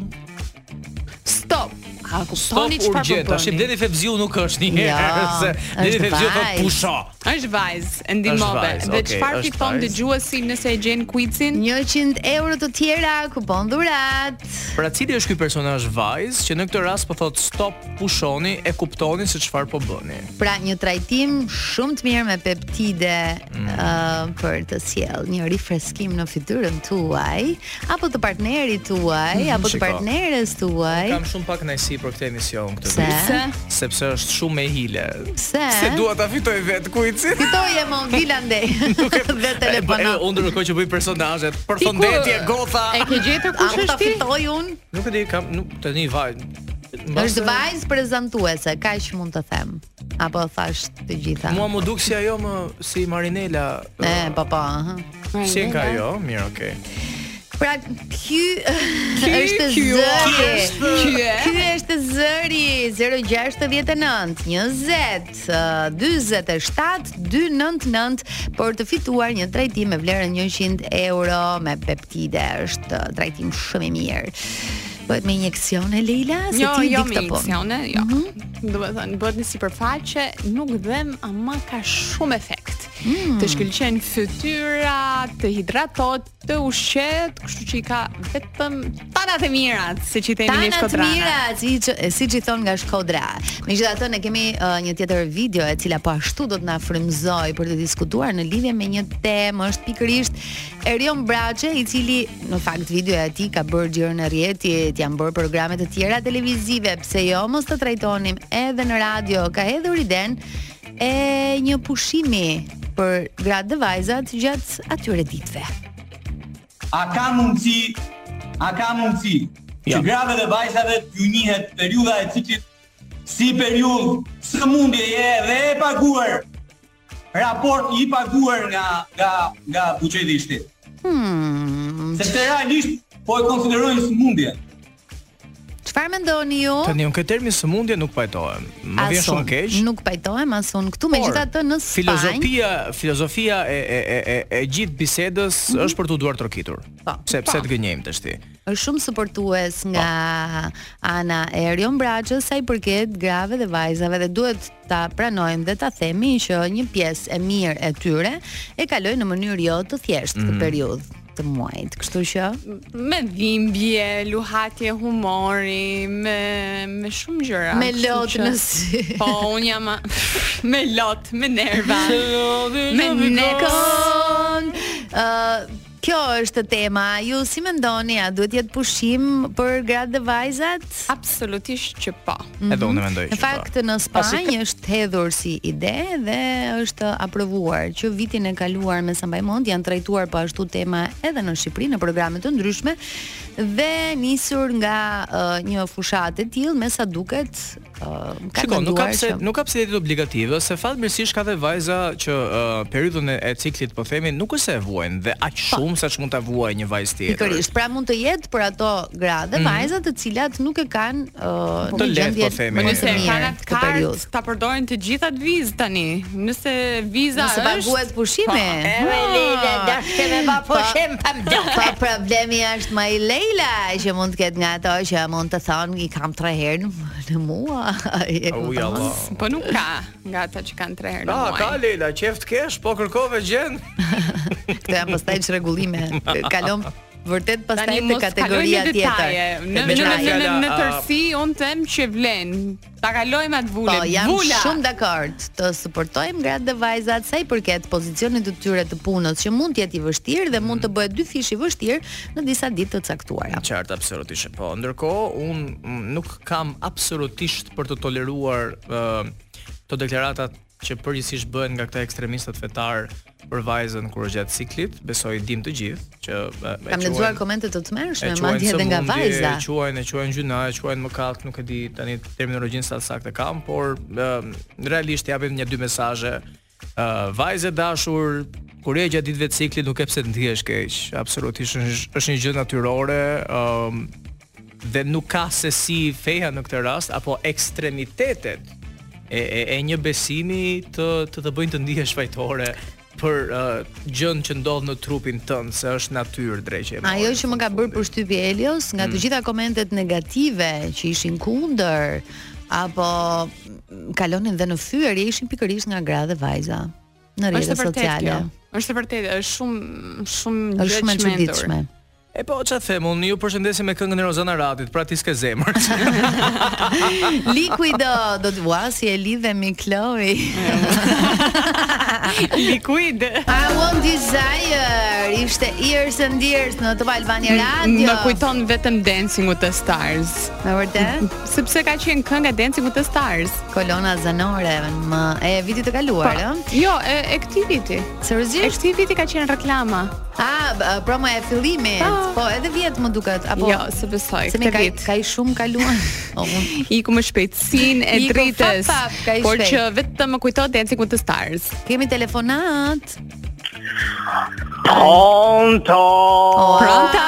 E: Stop. A
F: Stop
E: kuptoni çfarë
F: urgjent.
E: po
F: Tash
E: bëni?
F: Deni Fevziu nuk është një
D: Jo,
F: herë se Deni
D: është
F: Fevziu thot
D: vajzë.
F: pusho.
E: Është vajzë, e ndihmove.
F: vajzë,
E: Dhe
F: okej,
E: çfarë
F: është
E: fiton
F: vajzë.
E: dëgjuesi nëse e gjen quizin?
D: 100 euro të tjera, kupon dhurat.
F: Pra cili është ky personazh vajzë që në këtë rast po thot stop pushoni e kuptoni se çfarë po bëni.
D: Pra një trajtim shumë të mirë me peptide
F: Mm.
D: ë, për të sjell një rifreskim në fytyrën tuaj apo të partnerit tuaj apo
F: Mhm,
D: të
F: shiko.
D: partneres tuaj.
F: Kam shumë pak nëjsi për këtë emision këtë
D: Pse?
F: vit, sepse është shumë e hile.
D: Pse?
F: Se dua ta fitoj vet kuicin.
D: Fitoje më vila ndej dhe telefono.
F: Unë ndërkohë që bëj personazhet, përfundetje gotha.
E: E ke gjetur
D: A
E: kush
D: mund ta
E: është ti?
D: fitoj unë?
F: Nuk e di, kam nuk tani vajzë.
D: Është vajzë prezantuese, kaq mund të them. Apo thash të gjitha.
F: eh, Mua më duk si ajo më si Marinela.
D: E, po po. aha.
F: Si e ka ajo? Mirë, okay.
D: Pra ky është
E: ky
D: zëri.
E: Ky e?
D: Ky është zëri 069 20 uh, 47 299 për të fituar një trajtim me vlerën 100 euro me peptide. Është uh, trajtim shumë i mirë. Bëhet me injeksion e Leila, se
E: Jo,
D: ti
E: jo
D: di
E: me
D: këtë Mhm. po.
E: injekcione, jo. Do të thënë, bëhet në sipërfaqe, nuk dhem, ama ka shumë efekt.
D: Mm.
E: Të shkëlqen fytyra, të hidratot, të ushqet, kështu që i ka vetëm tanat e mirat, siç i themi ne
D: Tanat mira,
E: shkodrana.
D: si që- siç i thon nga Shkodra. Megjithatë ne kemi uh, një tjetër video e cila po ashtu do të na frymëzoj për të diskutuar në lidhje me një temë, është pikërisht Erion Braçe, i cili në fakt videoja e tij ka bërë gjirën e rrjetit, janë bërë programe të tjera televizive, pse jo mos të trajtonim edhe në radio, ka hedhur iden e një pushimi për gratë dhe vajzat gjatë atyre ditëve.
J: A ka mundësi, a ka mundësi që grave dhe vajzave t'ju njihet periudha e ciklit si periudhë sëmundjeje dhe e paguar raport i paguar nga nga nga buxheti i shtetit. Hmm. Sepse realisht po e konsiderojnë sëmundje.
D: Çfarë mendoni ju?
F: Tani unë këtë termin sëmundje nuk pajtohem. Më vjen
D: Asun,
F: shumë keq.
D: Nuk pajtohem asun këtu megjithatë në Spanjë.
F: Filozofia, filozofia e e e e, e gjithë bisedës është për t'u duar trokitur.
D: Mhm. Po.
F: Se pse të gënjejmë tash ti?
D: Është shumë suportues nga Ana e Erion Braçës sa i përket grave dhe vajzave dhe duhet ta pranojmë dhe ta themi që një pjesë e mirë e tyre e kaloi në mënyrë jo të thjeshtë
F: Mhm.
D: këtë periudhë të muajit. Kështu
E: Ah,
D: që
E: Me dhimbje, luhatje humori, me me shumë gjëra.
D: me
E: kështu
D: lot
E: që-
D: në sy.
E: Po, un jam a- me lot, me nerva. Jo, me nekon.
D: Nekon. Ë Kjo është tema. Ju si mendoni, a duhet jetë pushim për gratë dhe vajzat?
E: Absolutisht që po.
F: Edhe unë mendoj.
D: Mhm. Në
F: që
D: fakt
F: po.
D: në Spanjë është hedhur si ide dhe është aprovuar që vitin e kaluar me Sambajmond janë trajtuar po ashtu tema edhe në Shqipëri në programe të ndryshme dhe nisur nga ë, një fushatë e tillë me sa duket ë, ka
F: Shiko, nuk ka
D: menduar
F: pse
D: që-
F: nuk ka pse jetë obligative, se fatmirësisht ka dhe vajza që uh, periudhën e, e ciklit po themi nuk është se e vuajnë dhe aq shumë sa që mund ta vuajë një vajzë tjetër.
D: Po. Pikërisht, pra mund të jetë për ato gradë
F: Mhm.
D: vajza të cilat nuk e kanë uh,
F: Të
D: një
F: lehtë,
D: gjendje
F: po themi.
D: më
F: Nëse
D: të
E: Se
D: mirë
E: kanë atë
D: këtë
E: kartë,
D: periudhë.
E: ta përdorin të gjitha të vizë tani. Nëse viza
D: Nëse
E: është...
D: paguhet pushimi.
E: Po, e,
D: Ha.
A: Lele, dashke me pa
E: Po,
A: pushim, pa mdokë.
D: Pa problemi është më i Leila që mund të ketë nga ato që mund të thonë i kam tre herë në, në mua. E kupton?
F: Uj Allah.
E: Po nuk ka nga ata që kanë tre herë në
F: Ka, Ah, ka
E: muaj.
F: Leila, qeft kesh, po kërkove gjën.
D: Këto janë pastaj çrregullime. Kalon vërtet pastaj
E: Tani
D: te
E: mos
D: kategoria
E: kalojmë në
D: tjetër.
E: detaje. Në
F: Me
E: në në
F: qenë
E: në,
F: fjala,
E: në
F: a-
E: tërsi un them që vlen. Ta kalojmë atë
D: Po,
E: vulen.
D: jam
E: Vula.
D: shumë dakord. Të suportojmë gratë dhe vajzat sa i përket pozicionit të tyre të punës, që mund të jetë i vështirë dhe
F: Mhm.
D: mund të bëhet dy fish i vështirë në disa ditë të caktuara.
F: Qartë absolutisht. Po, ndërkohë un mm, nuk kam absolutisht për të toleruar ë të deklaratat që përgjithsisht bëhen nga këta ekstremistët fetar për vajzën kur është gjatë ciklit, besoj dim të gjithë që e, e
D: Kam
F: quajnë-
D: lexuar komente të
F: e
D: tmerrshme,
F: quajnë
D: madje edhe nga
F: sëmundje,
D: vajza.
F: E quajnë, e quajnë gjuna, e quajnë mëkat, nuk e di tani terminologjinë sa saktë kam, por ë, realisht japim një dy mesazhe. Ë vajzë e dashur, kur je gjatë ditëve të ciklit nuk e pse të ndihesh keq. Absolutisht është është një gjë natyrore, ë dhe nuk ka se si feja në këtë rast apo ekstremitetet e e, e një besimi të të të bëjnë të ndihesh fajtore për uh, gjën që ndodh në trupin tënd se është natyrë dreqe. e
D: Ajo
F: morës,
D: që më ka
F: në
D: bërë
F: fundit.
D: përshtypje Elios nga
E: Mm.
D: të gjitha komentet negative që ishin kundër apo m, kalonin dhe në fyerje ishin pikërisht nga gra dhe vajza në
E: Është
D: rrjetet
E: e vërtetë kjo.
D: sociale.
E: Është e vërtetë, është shumë shumë
D: Është shumë e
E: gjë çmendur.
D: çuditshme.
F: E po, çfarë them, unë ju përshëndesim me këngën e Rozana Ratit, pra ti s'ke zemër.
D: Likuido, do të vua si e lidhemi Chloe.
E: Likuid.
D: I want desire ishte Ears and Ears në Top Albania
E: Mm,
D: Radio.
E: Më kujton vetëm Dancing with the Stars,
D: Me vërtet,
E: sepse ka qenë kënga Dancing with the Stars.
D: kolona zanore më e vitit të kaluar, ë?
E: Jo, e, e këtij viti. E
D: Seriozisht?
E: këtij viti ka qenë reklama.
D: Ah, b- promo e fillimit.
E: Po.
D: Po, edhe vjet më duket apo
E: Jo, se besoj.
D: Se ne
E: Këtë
D: ka,
E: vit.
D: ka i shumë kaluan. O, unë-
E: Iku me shpejtësinë e
D: Iku
E: dritës.
D: fap, fap, ka i
E: Por
D: shpejt.
E: që vetëm më kujtohet Dancing with the Stars.
D: Kemi telefonat.
I: Pronto
D: Pronta.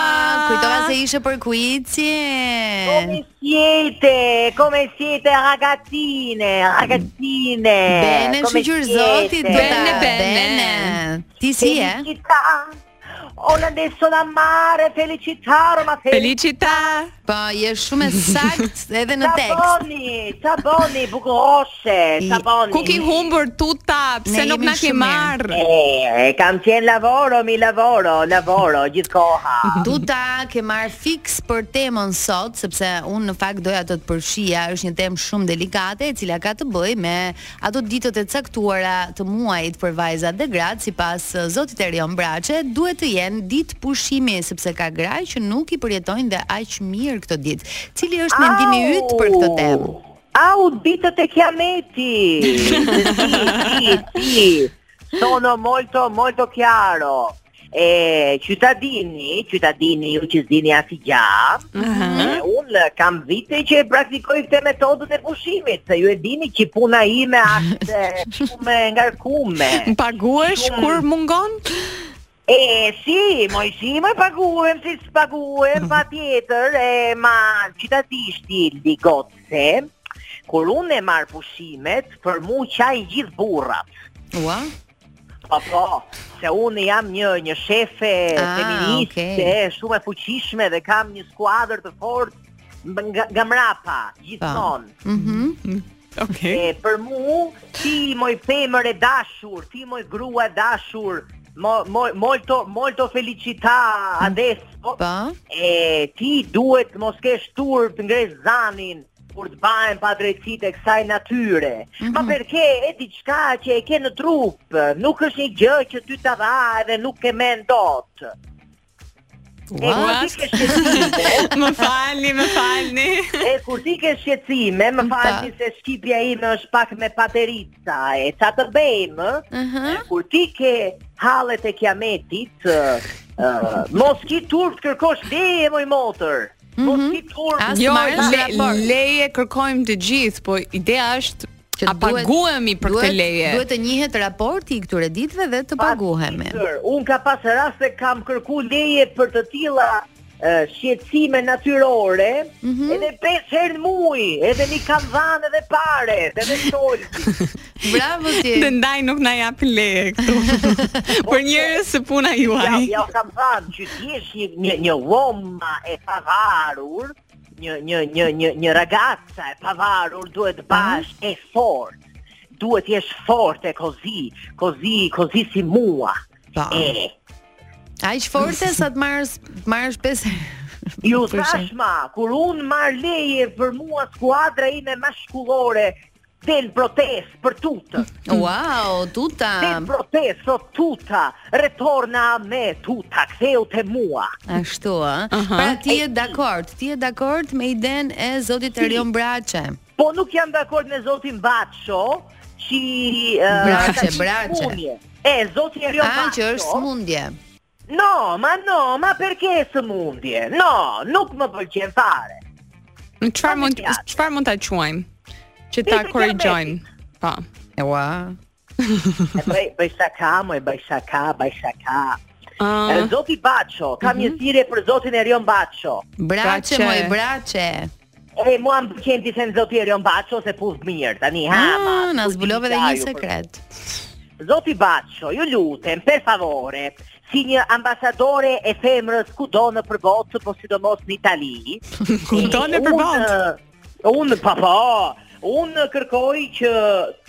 D: Kujtova se ishe për kuicin.
I: Come siete? Come siete ragazzine? Ragazzine?
D: Bene,
I: Come
D: shoqyr
I: siete?
D: zoti do ta
E: Bene, bene.
D: Ti si je?
I: Felicità. Ora adesso da mare, felicità, Roma felicità.
E: Felicita.
D: Po, je shumë e saktë edhe
I: po?
D: në tekst.
I: Saboni, saboni, bucurosce,
D: I-
I: saboni.
E: Ku ki humbur tuta, pse
D: Ne
E: nuk
D: jemi
E: na ke
D: shumë mirë.
E: marr?
I: Eh, kam qenë lavoro, mi lavoro, lavoro, gjithkoha.
D: Tuta ke marr fix për temën sot sepse unë në fakt doja të të përfshija, është një temë shumë delikate e cila ka të bëjë me ato ditët e caktuara të muajit për vajzat dhe gratë sipas eh, zotit Erion Braçe, duhet të jenë ditë pushimi sepse ka gra që nuk i përjetojnë dhe aq mirë këtë ditë. Cili është mendimi yt për këtë temë?
I: Au, ditët e kiameti. sì, sì, sì. Sono molto, molto chiaro. Eh, cittadini, cittadini, ju qizini asi gjatë, eh, unë kam vite që e praktikoj këtë metodën e pushimit, se ju e dini që puna ime është eh, shumë e ngarkume.
E: Më paguhesh
I: Shumë.
E: kur mungon?
I: E si, Mojsi, më paguhem, si s'paguhem, pa tjetër, e ma qytatishti ligot se, kur unë e marë pushimet, për mu qaj gjithë burrat.
D: Ua,
I: Po, po, se unë jam një, një shefe
D: Ah,
I: feministe,
D: okay.
I: shumë e fuqishme dhe kam një skuadrë të fortë mb- nga, nga mrapa, gjithmonë.
D: mhm.
E: Okej.
I: E për mu, ti moj femër e dashur, ti moj grua e dashur, mo, mo, molto, molto felicità adesso.
D: Po.
I: E ti duhet mos kesh tur të ngresh zanin kur të bahen pa drejtësitë e kësaj natyre. Ma përke e diçka që e ke në trup, nuk është një gjë që ty ta dha edhe nuk e mend dot. E kur ti ke shqetësime,
E: Më falni, më falni.
I: e kur ti ke shqetësime, më falni se shqipja ime është pak me paterica, e ça të bëjmë? ë?
D: Aha.
I: Kur ti ke hallet e kiametit, ë, ë, mos ki turp të kërkosh leje moj motër. Po si turp.
D: Mhm. As
E: Jo,
D: marrësh
E: le,
D: raport.
E: leje kërkojmë të gjithë, po ideja është a
D: duhet-
E: paguhemi për këtë
D: duhet-
E: leje.
D: Duhet të njihet raporti i këtyre ditëve dhe të paguhemi.
I: Tjetër, Unë ka pas raste kam kërku leje për të tilla uh, shqetësime natyrore,
D: Mhm.
I: edhe 5 herë në muaj, edhe një kam dhënë edhe pare, edhe sol.
D: Bravo ti.
E: Dhe ndaj nuk na japin leje këtu. për njerëz se puna
I: ja,
E: juaj.
I: ja kam thënë që ti je një një, një voma e pavarur, një një një një një ragazza e pavarur duhet të bash e fort. Duhet të jesh fort e kozi, kozi, kozi si mua.
D: Pa.
I: E,
D: Aq forte sa të marrësh marrësh pesë herë.
I: Ju
D: Për shemb.
I: tashma, kur unë marr leje për mua skuadra ime mashkullore, del protest për tutën.
D: Wow,
I: Del
D: tuta.
I: protest, o tuta, retorna me tuta, ktheu te mua.
D: Ashtu ë. Pra ti je dakord, ti je dakord me idenë e Zotit Erion Braçe.
I: Po nuk jam dakord me zotin Batsho, që
D: Braçe,
I: ka qenë
D: braçe.
I: smundje. E, zoti Erion
D: A që
I: Batsho.
D: është smundje.
I: No, ma no, ma perché smundje? No, nuk më pëlqen fare.
E: Në çfarë mund
I: Faleminderit.
E: çfarë mund ta quajmë? Që ta
I: Diabeti.
E: korrigjojmë. Po.
D: Ua.
I: E bëj, bëj shaka, moj, bëj shaka, bëj shaka.
E: Ë,
I: E, Zoti Baço, kam
D: Mhm.
I: një thirrje për zotin Erion Baço.
D: Braçe,
E: Braçe.
D: moj braçe.
I: E mua më pëlqen ti sen zoti Erion Baço se puf mirë. Tani ha, ma.
D: Ah, na
I: puf
D: zbulove
I: mirë
D: edhe një
I: ju, për-
D: sekret.
I: Zoti Baço, ju lutem, per favore, si një ambasadore e femrës kudo në përbotë, po sidomos në Itali. eh,
E: Kudo
I: e,
E: në përbotë.
I: unë- Unë pa pa. Unë po, kërkoj që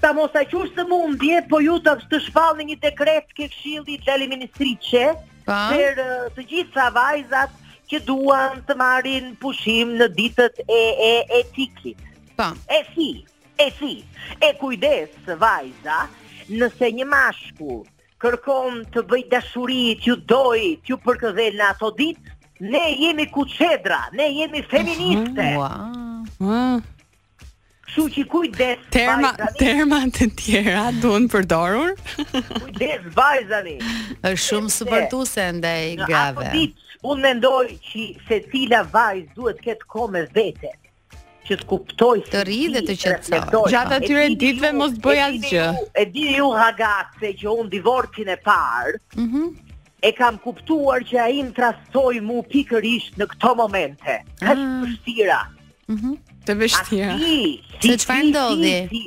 I: ta mos a qush të mundje, po ju të, të shpallni një dekret ke këshillit Lali Ministriçe,
D: Pa.
I: për eh, të gjitha vajzat që duan të marrin pushim në ditët e e e tikit.
D: Po.
I: E si, e si. E kujdes vajza, nëse një mashkull kërkon të bëj dashuri, t'ju doj, t'ju përkëdhel në ato ditë, ne jemi kuqedra, ne jemi feministe.
D: Ua.
E: ë,
I: Kështu që kujdes
E: terma
I: vajzani,
E: terma të tjera duhen përdorur.
I: kujdes vajzani.
D: Është shumë supportuese ndaj
I: Në ato
D: grave.
I: ditë, unë mendoj që se cila vajzë duhet të ketë kohë me vete, që të kuptoj se
D: Të rri dhe të qetësoj.
E: Gjatë atyre ditëve mos bëj asgjë.
I: E dini ju ragazze që unë divorcin e parë,
E: Mhm.
I: e kam kuptuar që ai më trastoi mu pikërisht në këto momente. Ka që vështira.
E: Të
I: A
E: Ah. vështira.
I: ti,
D: Se çfarë ndodhi?
I: ti.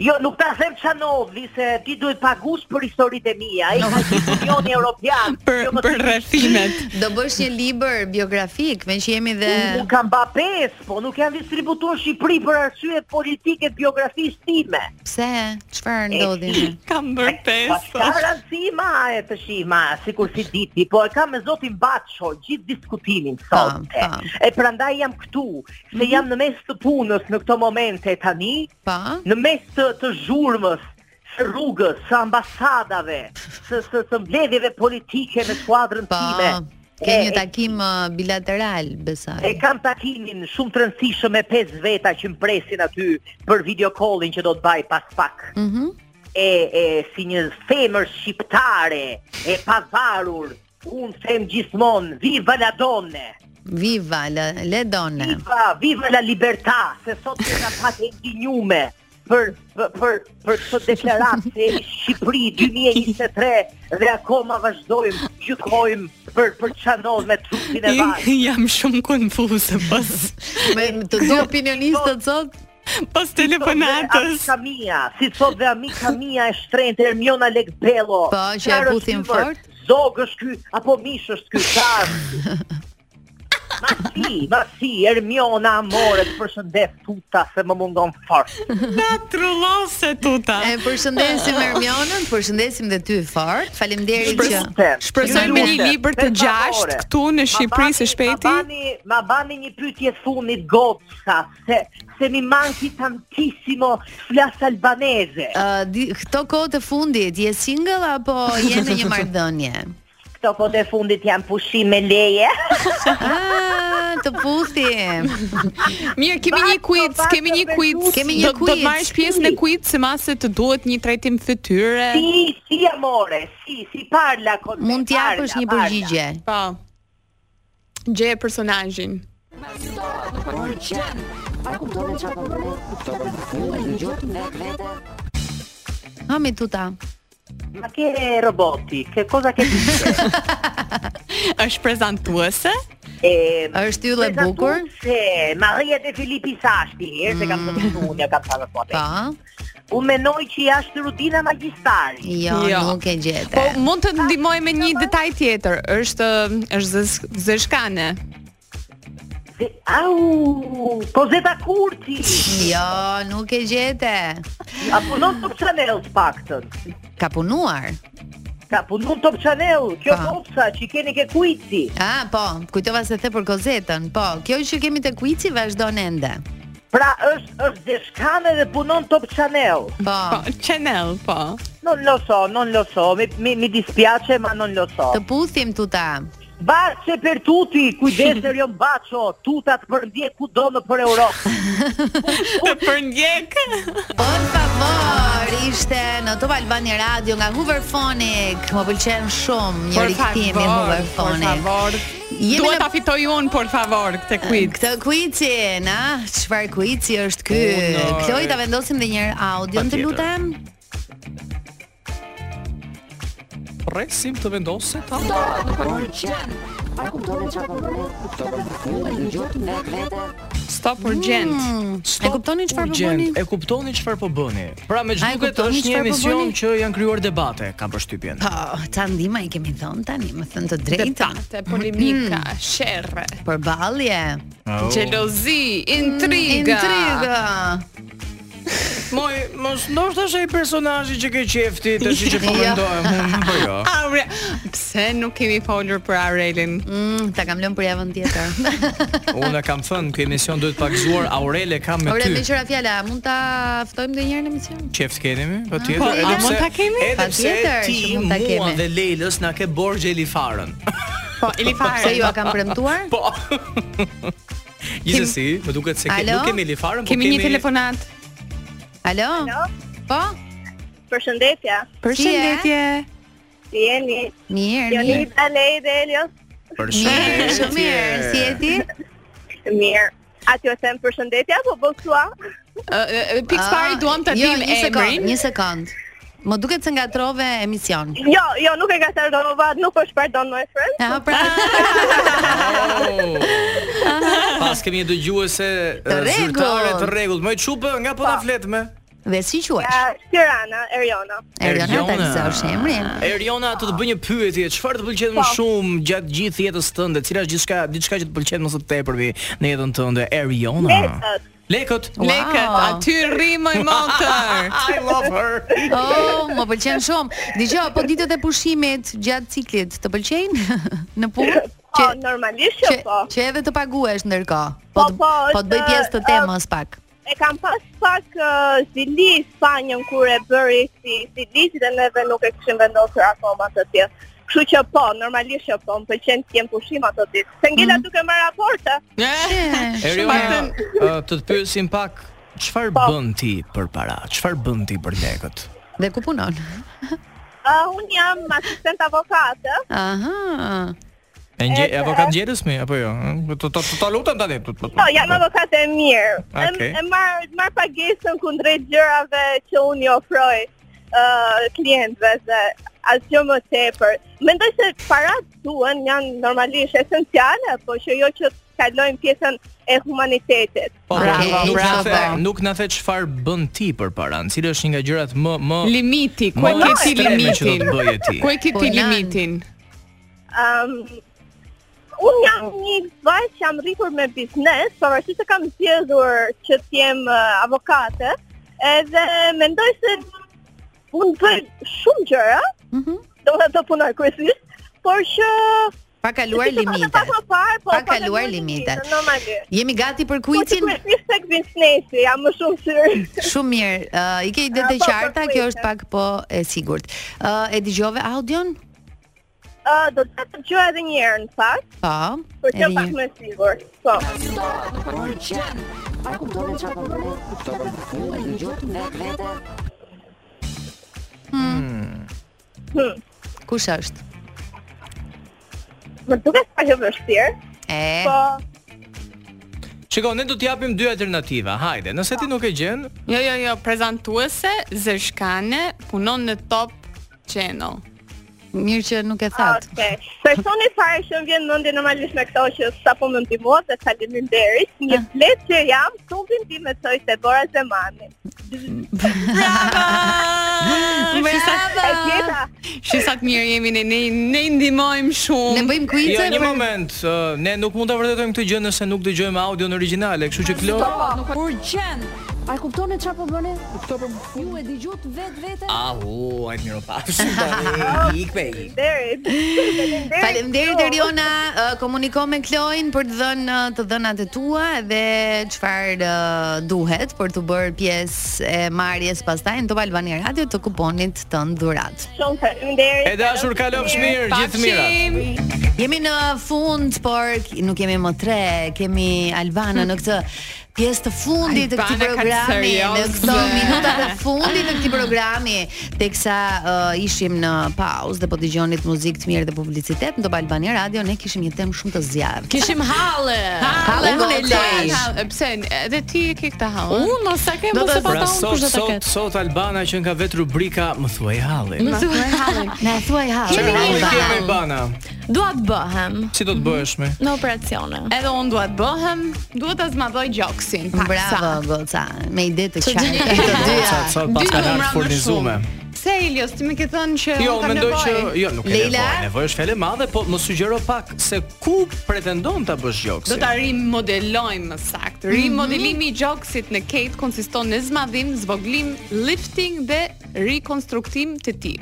I: Jo, nuk ta them çfarë ndodhi, se ti duhet pagush për historitë e mia. Ai ka qenë Unioni Evropian.
E: Për
I: jo më
E: për rrethimet.
D: Do bësh një libër biografik, me që jemi dhe
I: Unë kam ba pesë, po nuk janë distributuar në Shqipëri për arsye politike biografisë time.
D: pse, çfarë
I: E
D: ndodhi?
I: ti.
D: më?
E: Kam bërë
D: po.
I: Ka
E: pesë.
I: rëndësi ma e të shima, si kur si diti, po e kam me zotin Bacho gjithë diskutimin
D: Pam,
I: sot.
D: pam.
I: E prandaj jam këtu, se
D: Mhm.
I: jam në mes të punës në këto momente tani,
D: Pa?
I: në mes të, të zhurmës, së rrugës, së ambasadave, së, së, së mbledhjeve politike me skuadrën
D: Pa.
I: time.
D: Ke
I: E-
D: një
I: e-
D: takim ë, bilateral, besoj.
I: E kam takimin shumë të rëndësishëm me pesë veta që më presin aty për video callin që do të baj pas pak.
D: Mhm.
I: E, e si një femër shqiptare, e pavarur, unë them gjithmonë, viva la donne,
D: Viva le, le donne.
I: viva, viva la libertà, se sot kena pat e ndinjume për për për për këtë deklaratë e Shqipëri 2023 dhe akoma vazhdojmë gjykojmë për për çanon me trupin e vaj.
E: Jam shumë konfuze pas
D: Me me të dy opinionistët sot
E: pas
I: Amika
E: telefonatës.
I: mia, si thot dhe amika mia e shtrenjtë Ermiona Lekbello.
D: Po, që e
I: Qarë
D: puthin
I: është ky
D: fort.
I: vërë? Zog është ky apo mish është ky çfarë? Ma si, ma si, Ermiona amore, të përshëndet tuta se më mundon fort.
E: Na trullose tuta.
D: e përshëndesim Ermionën, përshëndesim dhe ty fort. Faleminderit që
E: Shpresoj me një libër të gjashtë këtu në Shqipëri së
I: Ma
E: shpejti.
I: bani, ma bani një pyetje fundit goca, se se mi manki tantissimo flas albaneze.
D: Ë, uh, di- këto kohë të fundit, je single apo je në një marrëdhënie?
I: Këto kohë të fundit janë pushim me leje.
D: Ah, të puthim.
E: Mirë, kemi një
I: Baco,
E: quiz,
I: baco,
E: kemi një quiz.
I: Bertucci.
D: Kemi një
E: Do- Do të
D: quiz.
E: marrësh pjesë në quiz se mase të duhet një trajtim fytyre.
I: Si, si amore, si, si parla con me,
D: Mund
I: parla,
D: t'japësh një
I: parla.
D: përgjigje.
E: Po. Gje Po. personazhin.
I: Por qen A kuptove qa po bëre? Kuptove Unë një gjotë në vete
D: Hami tuta.
K: Ma che roboti? Che cosa che
E: është prezantuese.
K: E
D: është yll e bukur. Mm.
K: Se Maria De Filippi Sashti, herë se kam të unë, ja kam thënë fote.
D: Pa.
K: Unë menoj që jashtë rutina magjistari.
D: Jo, nuk e gjete.
E: Po mund të të ndihmoj me një detaj tjetër. Është është zes- zeshkane.
K: Ze- Au, po zeta kurti.
D: Jo, nuk e gjete.
K: A punon Top Channel të paktën.
D: Ka punuar.
K: Ka punon Top Channel, kjo popsa që keni ke kuici.
D: Ah, po, kujtova se the për Kozetën. Po, kjo që kemi te Kuici vazhdon ende.
K: Pra është është deshkane dhe punon Top Channel.
E: Po,
D: Po,
E: channel, po.
K: Non lo so, non lo so, mi, mi, mi dispiace ma non lo so.
D: të puthim tuta.
K: Barçe per tutti, kujdes Rion Baço, tutat përndjek kudo në për Europë.
E: Të përndjek.
D: Por favor, ishte në Top Albani Radio nga Hooverphonic. Më pëlqen shumë një
E: Por
D: rikthim i
E: favor, por
D: Hooverphonic.
E: favor.
D: Jemi
E: Dua
D: në-
E: ta fitoj unë, por favor, këtë quiz.
D: Këtë kuicin, a? Çfarë kuici është ky?
F: Unor.
D: Kloj ta vendosim edhe një herë audion të
F: Patjetër.
D: lutem.
F: Presim të vendoset apo?
I: Por qen A kuptove qa po bëre? Kuptove Unë një gjotë në vete
E: Stop urgent.
D: Mm. E kuptoni çfarë po
F: Urgjent,
D: bëni?
F: E kuptoni çfarë po bëni. Pra me
D: A e
F: çduket është
D: kuptoni
F: një
D: çfarë po
F: emision
D: bëni?
F: që janë krijuar debate, kam përshtypjen.
D: Po, ta ndihma i kemi thënë tani, më thënë të drejtën.
E: Debate, polemika,
D: Mm.
E: sherrë,
D: Përballje.
F: Au.
E: xhelozi, intriga.
D: Oh. Mm, Intriga.
F: Moj, mos ndoshta është ai personazhi që ke qefti, tash që po
D: Jo.
F: mendohem unë, po jo.
E: Aure, pse nuk kemi folur për Aurelin?
D: Mm, ta kam lënë për javën tjetër.
F: Unë e kam thënë, ky emision duhet pak zuar, Aurele kam me
D: Ore, me
F: ty.
D: qëra fjala, mund ta ftojmë ndonjëherë në emision?
F: Qeft keni mi?
D: Ah,
F: Po
E: Po,
F: tjetër,
E: a mund ta kemi?
F: Edhe pse
D: Patjetër
F: ti,
D: që mund ta
F: mua
D: kemi.
F: dhe Lelës na ke borxh elifarën.
E: Po, Elifare.
D: Se ju a kam premtuar?
F: Po. Gjithsesi, më duket se ke,
D: Alo?
F: nuk kemi elifarën, po
E: Kemi
F: kemi
E: një telefonat.
D: Alo? Po?
I: Përshëndetja
E: Përshëndetje.
I: Jeni
D: Mirë, mirë.
I: Alej dhe Elios
D: Mirë, shumë mirë. Si je ti?
I: Mirë A t'jo them përshëndetja po bësua?
E: Ë, ë, Pikë pari
D: Ah,
E: duam ta
D: jo,
E: dim
D: një sekond,
E: emrin.
D: Një sekond. Më duket se ngatrove emision.
I: Jo, jo, nuk e ka të nuk është pardon my friend
D: Ja, pra.
F: Oh. Pas kemi një dëgjuese
D: Të
F: e,
D: rregullt.
F: zyrtare të rregullt. Më çupë nga po ta flet me.
D: Dhe si quhesh?
I: Uh, Tirana, Eriona
D: Eriona
F: Eriona.
D: tani sa është emri?
F: Eriona, të të bëj një pyetje. Çfarë të pëlqen më shumë gjatë gjithë jetës tënde? Cila është gjithçka, diçka që të pëlqen më së tepërmi në jetën tënde?
I: Ah.
F: Eriona.
I: Lekët.
F: Lekët.
D: Wow.
E: Lekët, aty rrimoj motër.
F: I love her.
D: Oh, më pëlqen shumë. Dgjoj, po ditët e pushimit gjatë ciklit të pëlqejnë në punë?
I: Po, normalisht që po
D: që edhe të paguhesh ndërkohë.
I: Po,
D: të-
I: po,
D: po të bëj
I: është,
D: pjesë të
I: ë,
D: temës pak.
I: E kam pas pak uh, zili Spanjën kur e bëri si si lizi dhe neve nuk e kishim vendosur akoma të tjerë. Kështu që po, normalisht që po, më pëlqen të kem pushim ato ditë. Se ngela duke marrë raporte,
F: Eriona, ë, uh, të të pyesim pak çfarë bën ti për para? Çfarë bën ti për lekët?
D: Dhe ku punon?
I: uh, unë jam asistent avokate,
D: Aha.
F: E ngje avokat gjerës mi apo jo? Ë, Të të të lutem tani. të- të-
I: po, jam avokate e mirë. E-
F: Okej.
I: E marr marr pagesën kundrejt gjërave që unë i ofroj uh, klientëve dhe asgjë më tepër. Mendoj se parat duhen janë normalisht esenciale, po që jo që kalojnë pjesën e humanitetit.
F: Po,
D: Bravo,
F: bravo, nuk bravo.
D: bravo.
F: Na the, nuk na the çfarë bën ti për paran, cili është një nga gjërat më më
E: Limiti, ku
F: më
E: e ke ti
F: ekstreme që do
E: limitin?
F: të bëje ti.
E: Ku e ke ti
D: Punan.
E: limitin?
I: Um, unë jam një vajzë që jam rritur me biznes, pavarësisht se kam zgjedhur që të jem uh, avokate, edhe mendoj se unë bëj shumë gjëra,
D: Mhm.
I: do të të punoj kryesisht, por që
D: Pa kaluar
I: si që pastaj
D: limitet.
I: Pak më parë, po
D: Pa
I: pastaj
D: kaluar
I: më
D: limitet.
I: Normalisht.
D: Jemi gati për
I: Po që
D: kuicin?
I: kryesisht tek biznesi, jam më shumë syr.
D: Shumë mirë. Ë, I ke ide të
I: Po, po,
D: qarta, kjo
I: kuicin.
D: është pak po e sigurt. Ë, e dëgjove audion?
I: Uh, do të të gjoj edhe një herë në fakt,
D: Po.
I: për
D: edhe
I: të pak
D: një.
I: më sigurt. Po. Por që A kuptove çfarë po bëre? Kuptove unë një gjotë në vete.
L: Hmm.
D: Kush
L: po,
D: është? Eh,
I: Më duket pak e vështirë,
D: E,
I: po
F: Shikoj, ne do të japim dy alternativa. Hajde, nëse ti nuk e gjen,
E: Jo, jo, jo, prezantuese Zeshkane punon në Top Channel.
D: Mirë që nuk e that.
L: Okay. Personi fare që më vjen mendje normalisht me këto që po sapo më ndihmuat dhe faleminderit.
D: Ah.
L: Një flet që jam, tumbin tim me çoj se Bora Zemani.
I: Ah,
E: Bravo!
D: Ah.
E: Shisa të mirë jemi ne, ne, ne i ndihmojmë shumë. Ne
D: bëjmë
F: Jo, një moment, ë, ne nuk mund ta vërtetojmë këtë gjë nëse nuk dëgjojmë audion origjinale, kështu që Klo,
M: Urgjent. A e kuptoni çfarë po bëni? Këto për ju e dëgjut vetë vete.
F: Au, ai miro pa.
A: Ik me ik.
L: Faleminderit.
D: Faleminderit Eriona, uh, komuniko me Kloin për të dhënë uh, të dhënat e tua dhe çfarë uh, duhet për të bërë pjesë e marrjes pastaj në Top Albania Radio të kuponit të dhurat.
L: Shumë faleminderit.
F: E dashur, kalofsh mirë, gjithë mirat.
D: Jemi në fund, por k- nuk jemi më tre, kemi Albana në këtë pjesë të fundit të këtij
E: Albana ka
D: programi, në
E: serioze.
D: këto minuta të fundit të këtij programi, teksa uh, ishim në pauzë dhe po dëgjonit muzikë të mirë dhe publicitet në Top Albania Radio, ne kishim një temë shumë të zjarrt.
E: Kishim halle.
D: Halle, unë e lej.
E: Halle, Pse edhe ti e ke këtë halle?
M: Unë mos e kem,
E: Do
M: mos
E: të
M: e pa
B: po
M: ta
F: Pra
M: unë
F: sot
M: kush do ta
F: sot
M: ketë.
F: sot Albana që nga vetë rubrika më thuaj hallin.
M: Më thuaj hallin.
D: Na thuaj
F: Çfarë
M: hallin.
F: roli ke me Albana?
M: Dua të bëhem
F: Si do të bëhesh me?
M: në operacione.
E: Edhe unë duhet bëhem, duhet ta zmadhoj gjoksin. paksa.
D: Bravo goca, me ide të qartë
E: gjeni.
D: të dyja.
F: Sot sot pas
E: Dy
F: kanë
E: numra
F: ardhur
E: më
F: furnizume.
E: Pse Ilios, ti më ke thënë që
F: Jo,
E: unë kam
F: mendoj që
E: nevojë?
F: jo, nuk e
D: Leila?
F: nevojë. Nevojë është fjalë e madhe, po më sugjero pak se ku pretendon ta bësh
E: Do
F: gjoksin.
E: ta rimodelojmë më saktë. Rimodelimi i gjoksit në Kate konsiston në zmadhim, zvoglim, lifting dhe rikonstruktim të tij.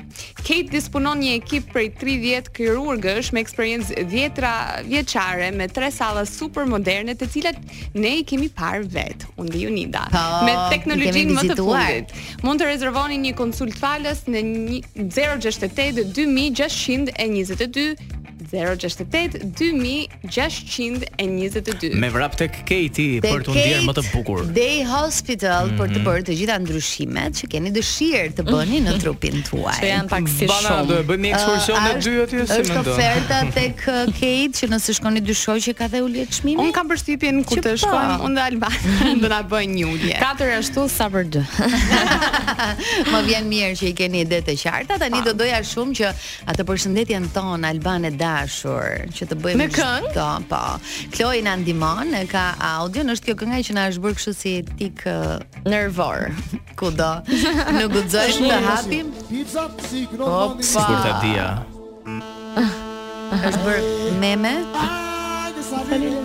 E: Kate disponon një ekip prej 30 kirurgësh me eksperiencë 10 vjeçare me tre salla super moderne të cilat ne i kemi parë vetë, unë dhe Junida.
D: Po,
E: me
D: i
E: teknologjinë
D: kemi
E: më të
D: vizituar.
E: fundit. Mund të rezervoni një konsult falas në një- 068 2622 068 2622
F: Me vrap tek Katie
D: Te
F: për të ndjerë më të
D: Kate
F: bukur. Mhm.
D: Day Hospital për të bërë të gjitha ndryshimet që keni dëshirë të bëni në trupin tuaj.
M: Që janë pak si
F: Bana, do e
M: shumë.
F: bëjmë një ekskursion
D: Ë,
F: në dy atje si
D: Është
F: mendon?
D: oferta tek uh, Kate që nëse shkoni dy shoqë ka dhe ulje çmimi.
E: Unë kam përshtypjen ku
D: Që
E: të
D: po?
E: shkojmë unë dhe Albana do na bëjnë një ulje.
M: Katër ashtu sa për dy.
D: Më vjen mirë që i keni ide të qarta. Tani do doja shumë që atë përshëndetjen ton Alban e dashur, që të bëjmë
E: Me këngë?
D: çdo, po. Chloe na ndihmon, e ka audio, është kjo kënga që na është bërë kështu si tik uh, nervor. Kudo. Në guxojmë të hapim.
G: Pizza, si kënon
D: Opa.
G: mandin.
F: Kur ta dia.
D: Është bërë meme.
G: Hajde, sa vini.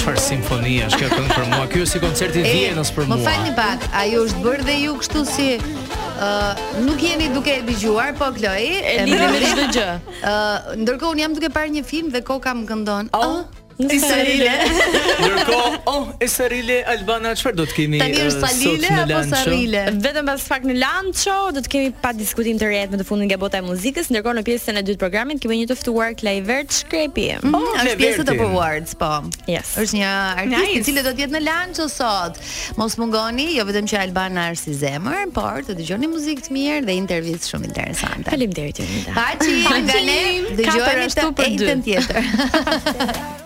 F: Çfarë simfonia është kjo këngë për mua? Ky është si koncerti i
D: E,
F: Vienës për
D: Më
F: mua.
D: falni pak, ajo është bërë dhe ju kështu si ë nuk jeni duke e dëgjuar, po Kloi,
M: E lidhi me çdo gjë.
D: Ë ndërkohë un jam duke parë një film dhe koka më këndon. Oh,
M: Nuk ka
D: Salile.
F: Ndërkohë, oh, e Sarile Albana, çfarë do të kemi
D: Tani
F: eh,
D: është
F: sot
D: Salile
F: në
D: apo
F: lunch-o?
D: Sarile?
M: Vetëm pas fakt në Lancho do të kemi pa diskutim të rrjet me të fundin nga bota e muzikës, ndërkohë në pjesën e dytë të programit kemi një të ftuar Klajvert Shkrepi.
D: Mm, është pjesë
F: Klevertin.
D: të Awards, po.
M: po, Yes.
D: Është një artist i
E: Nice.
D: cili do të jetë në lanço sot. Mos mungoni, jo vetëm që Albana është si zemër, por të dëgjoni muzikë të mirë dhe intervistë shumë interesante.
M: Faleminderit Jonida.
D: Paçi, nga ne
M: Katër
D: dëgjojmë
M: ashtu
D: të
M: për dy.
D: njëjtën tjetër.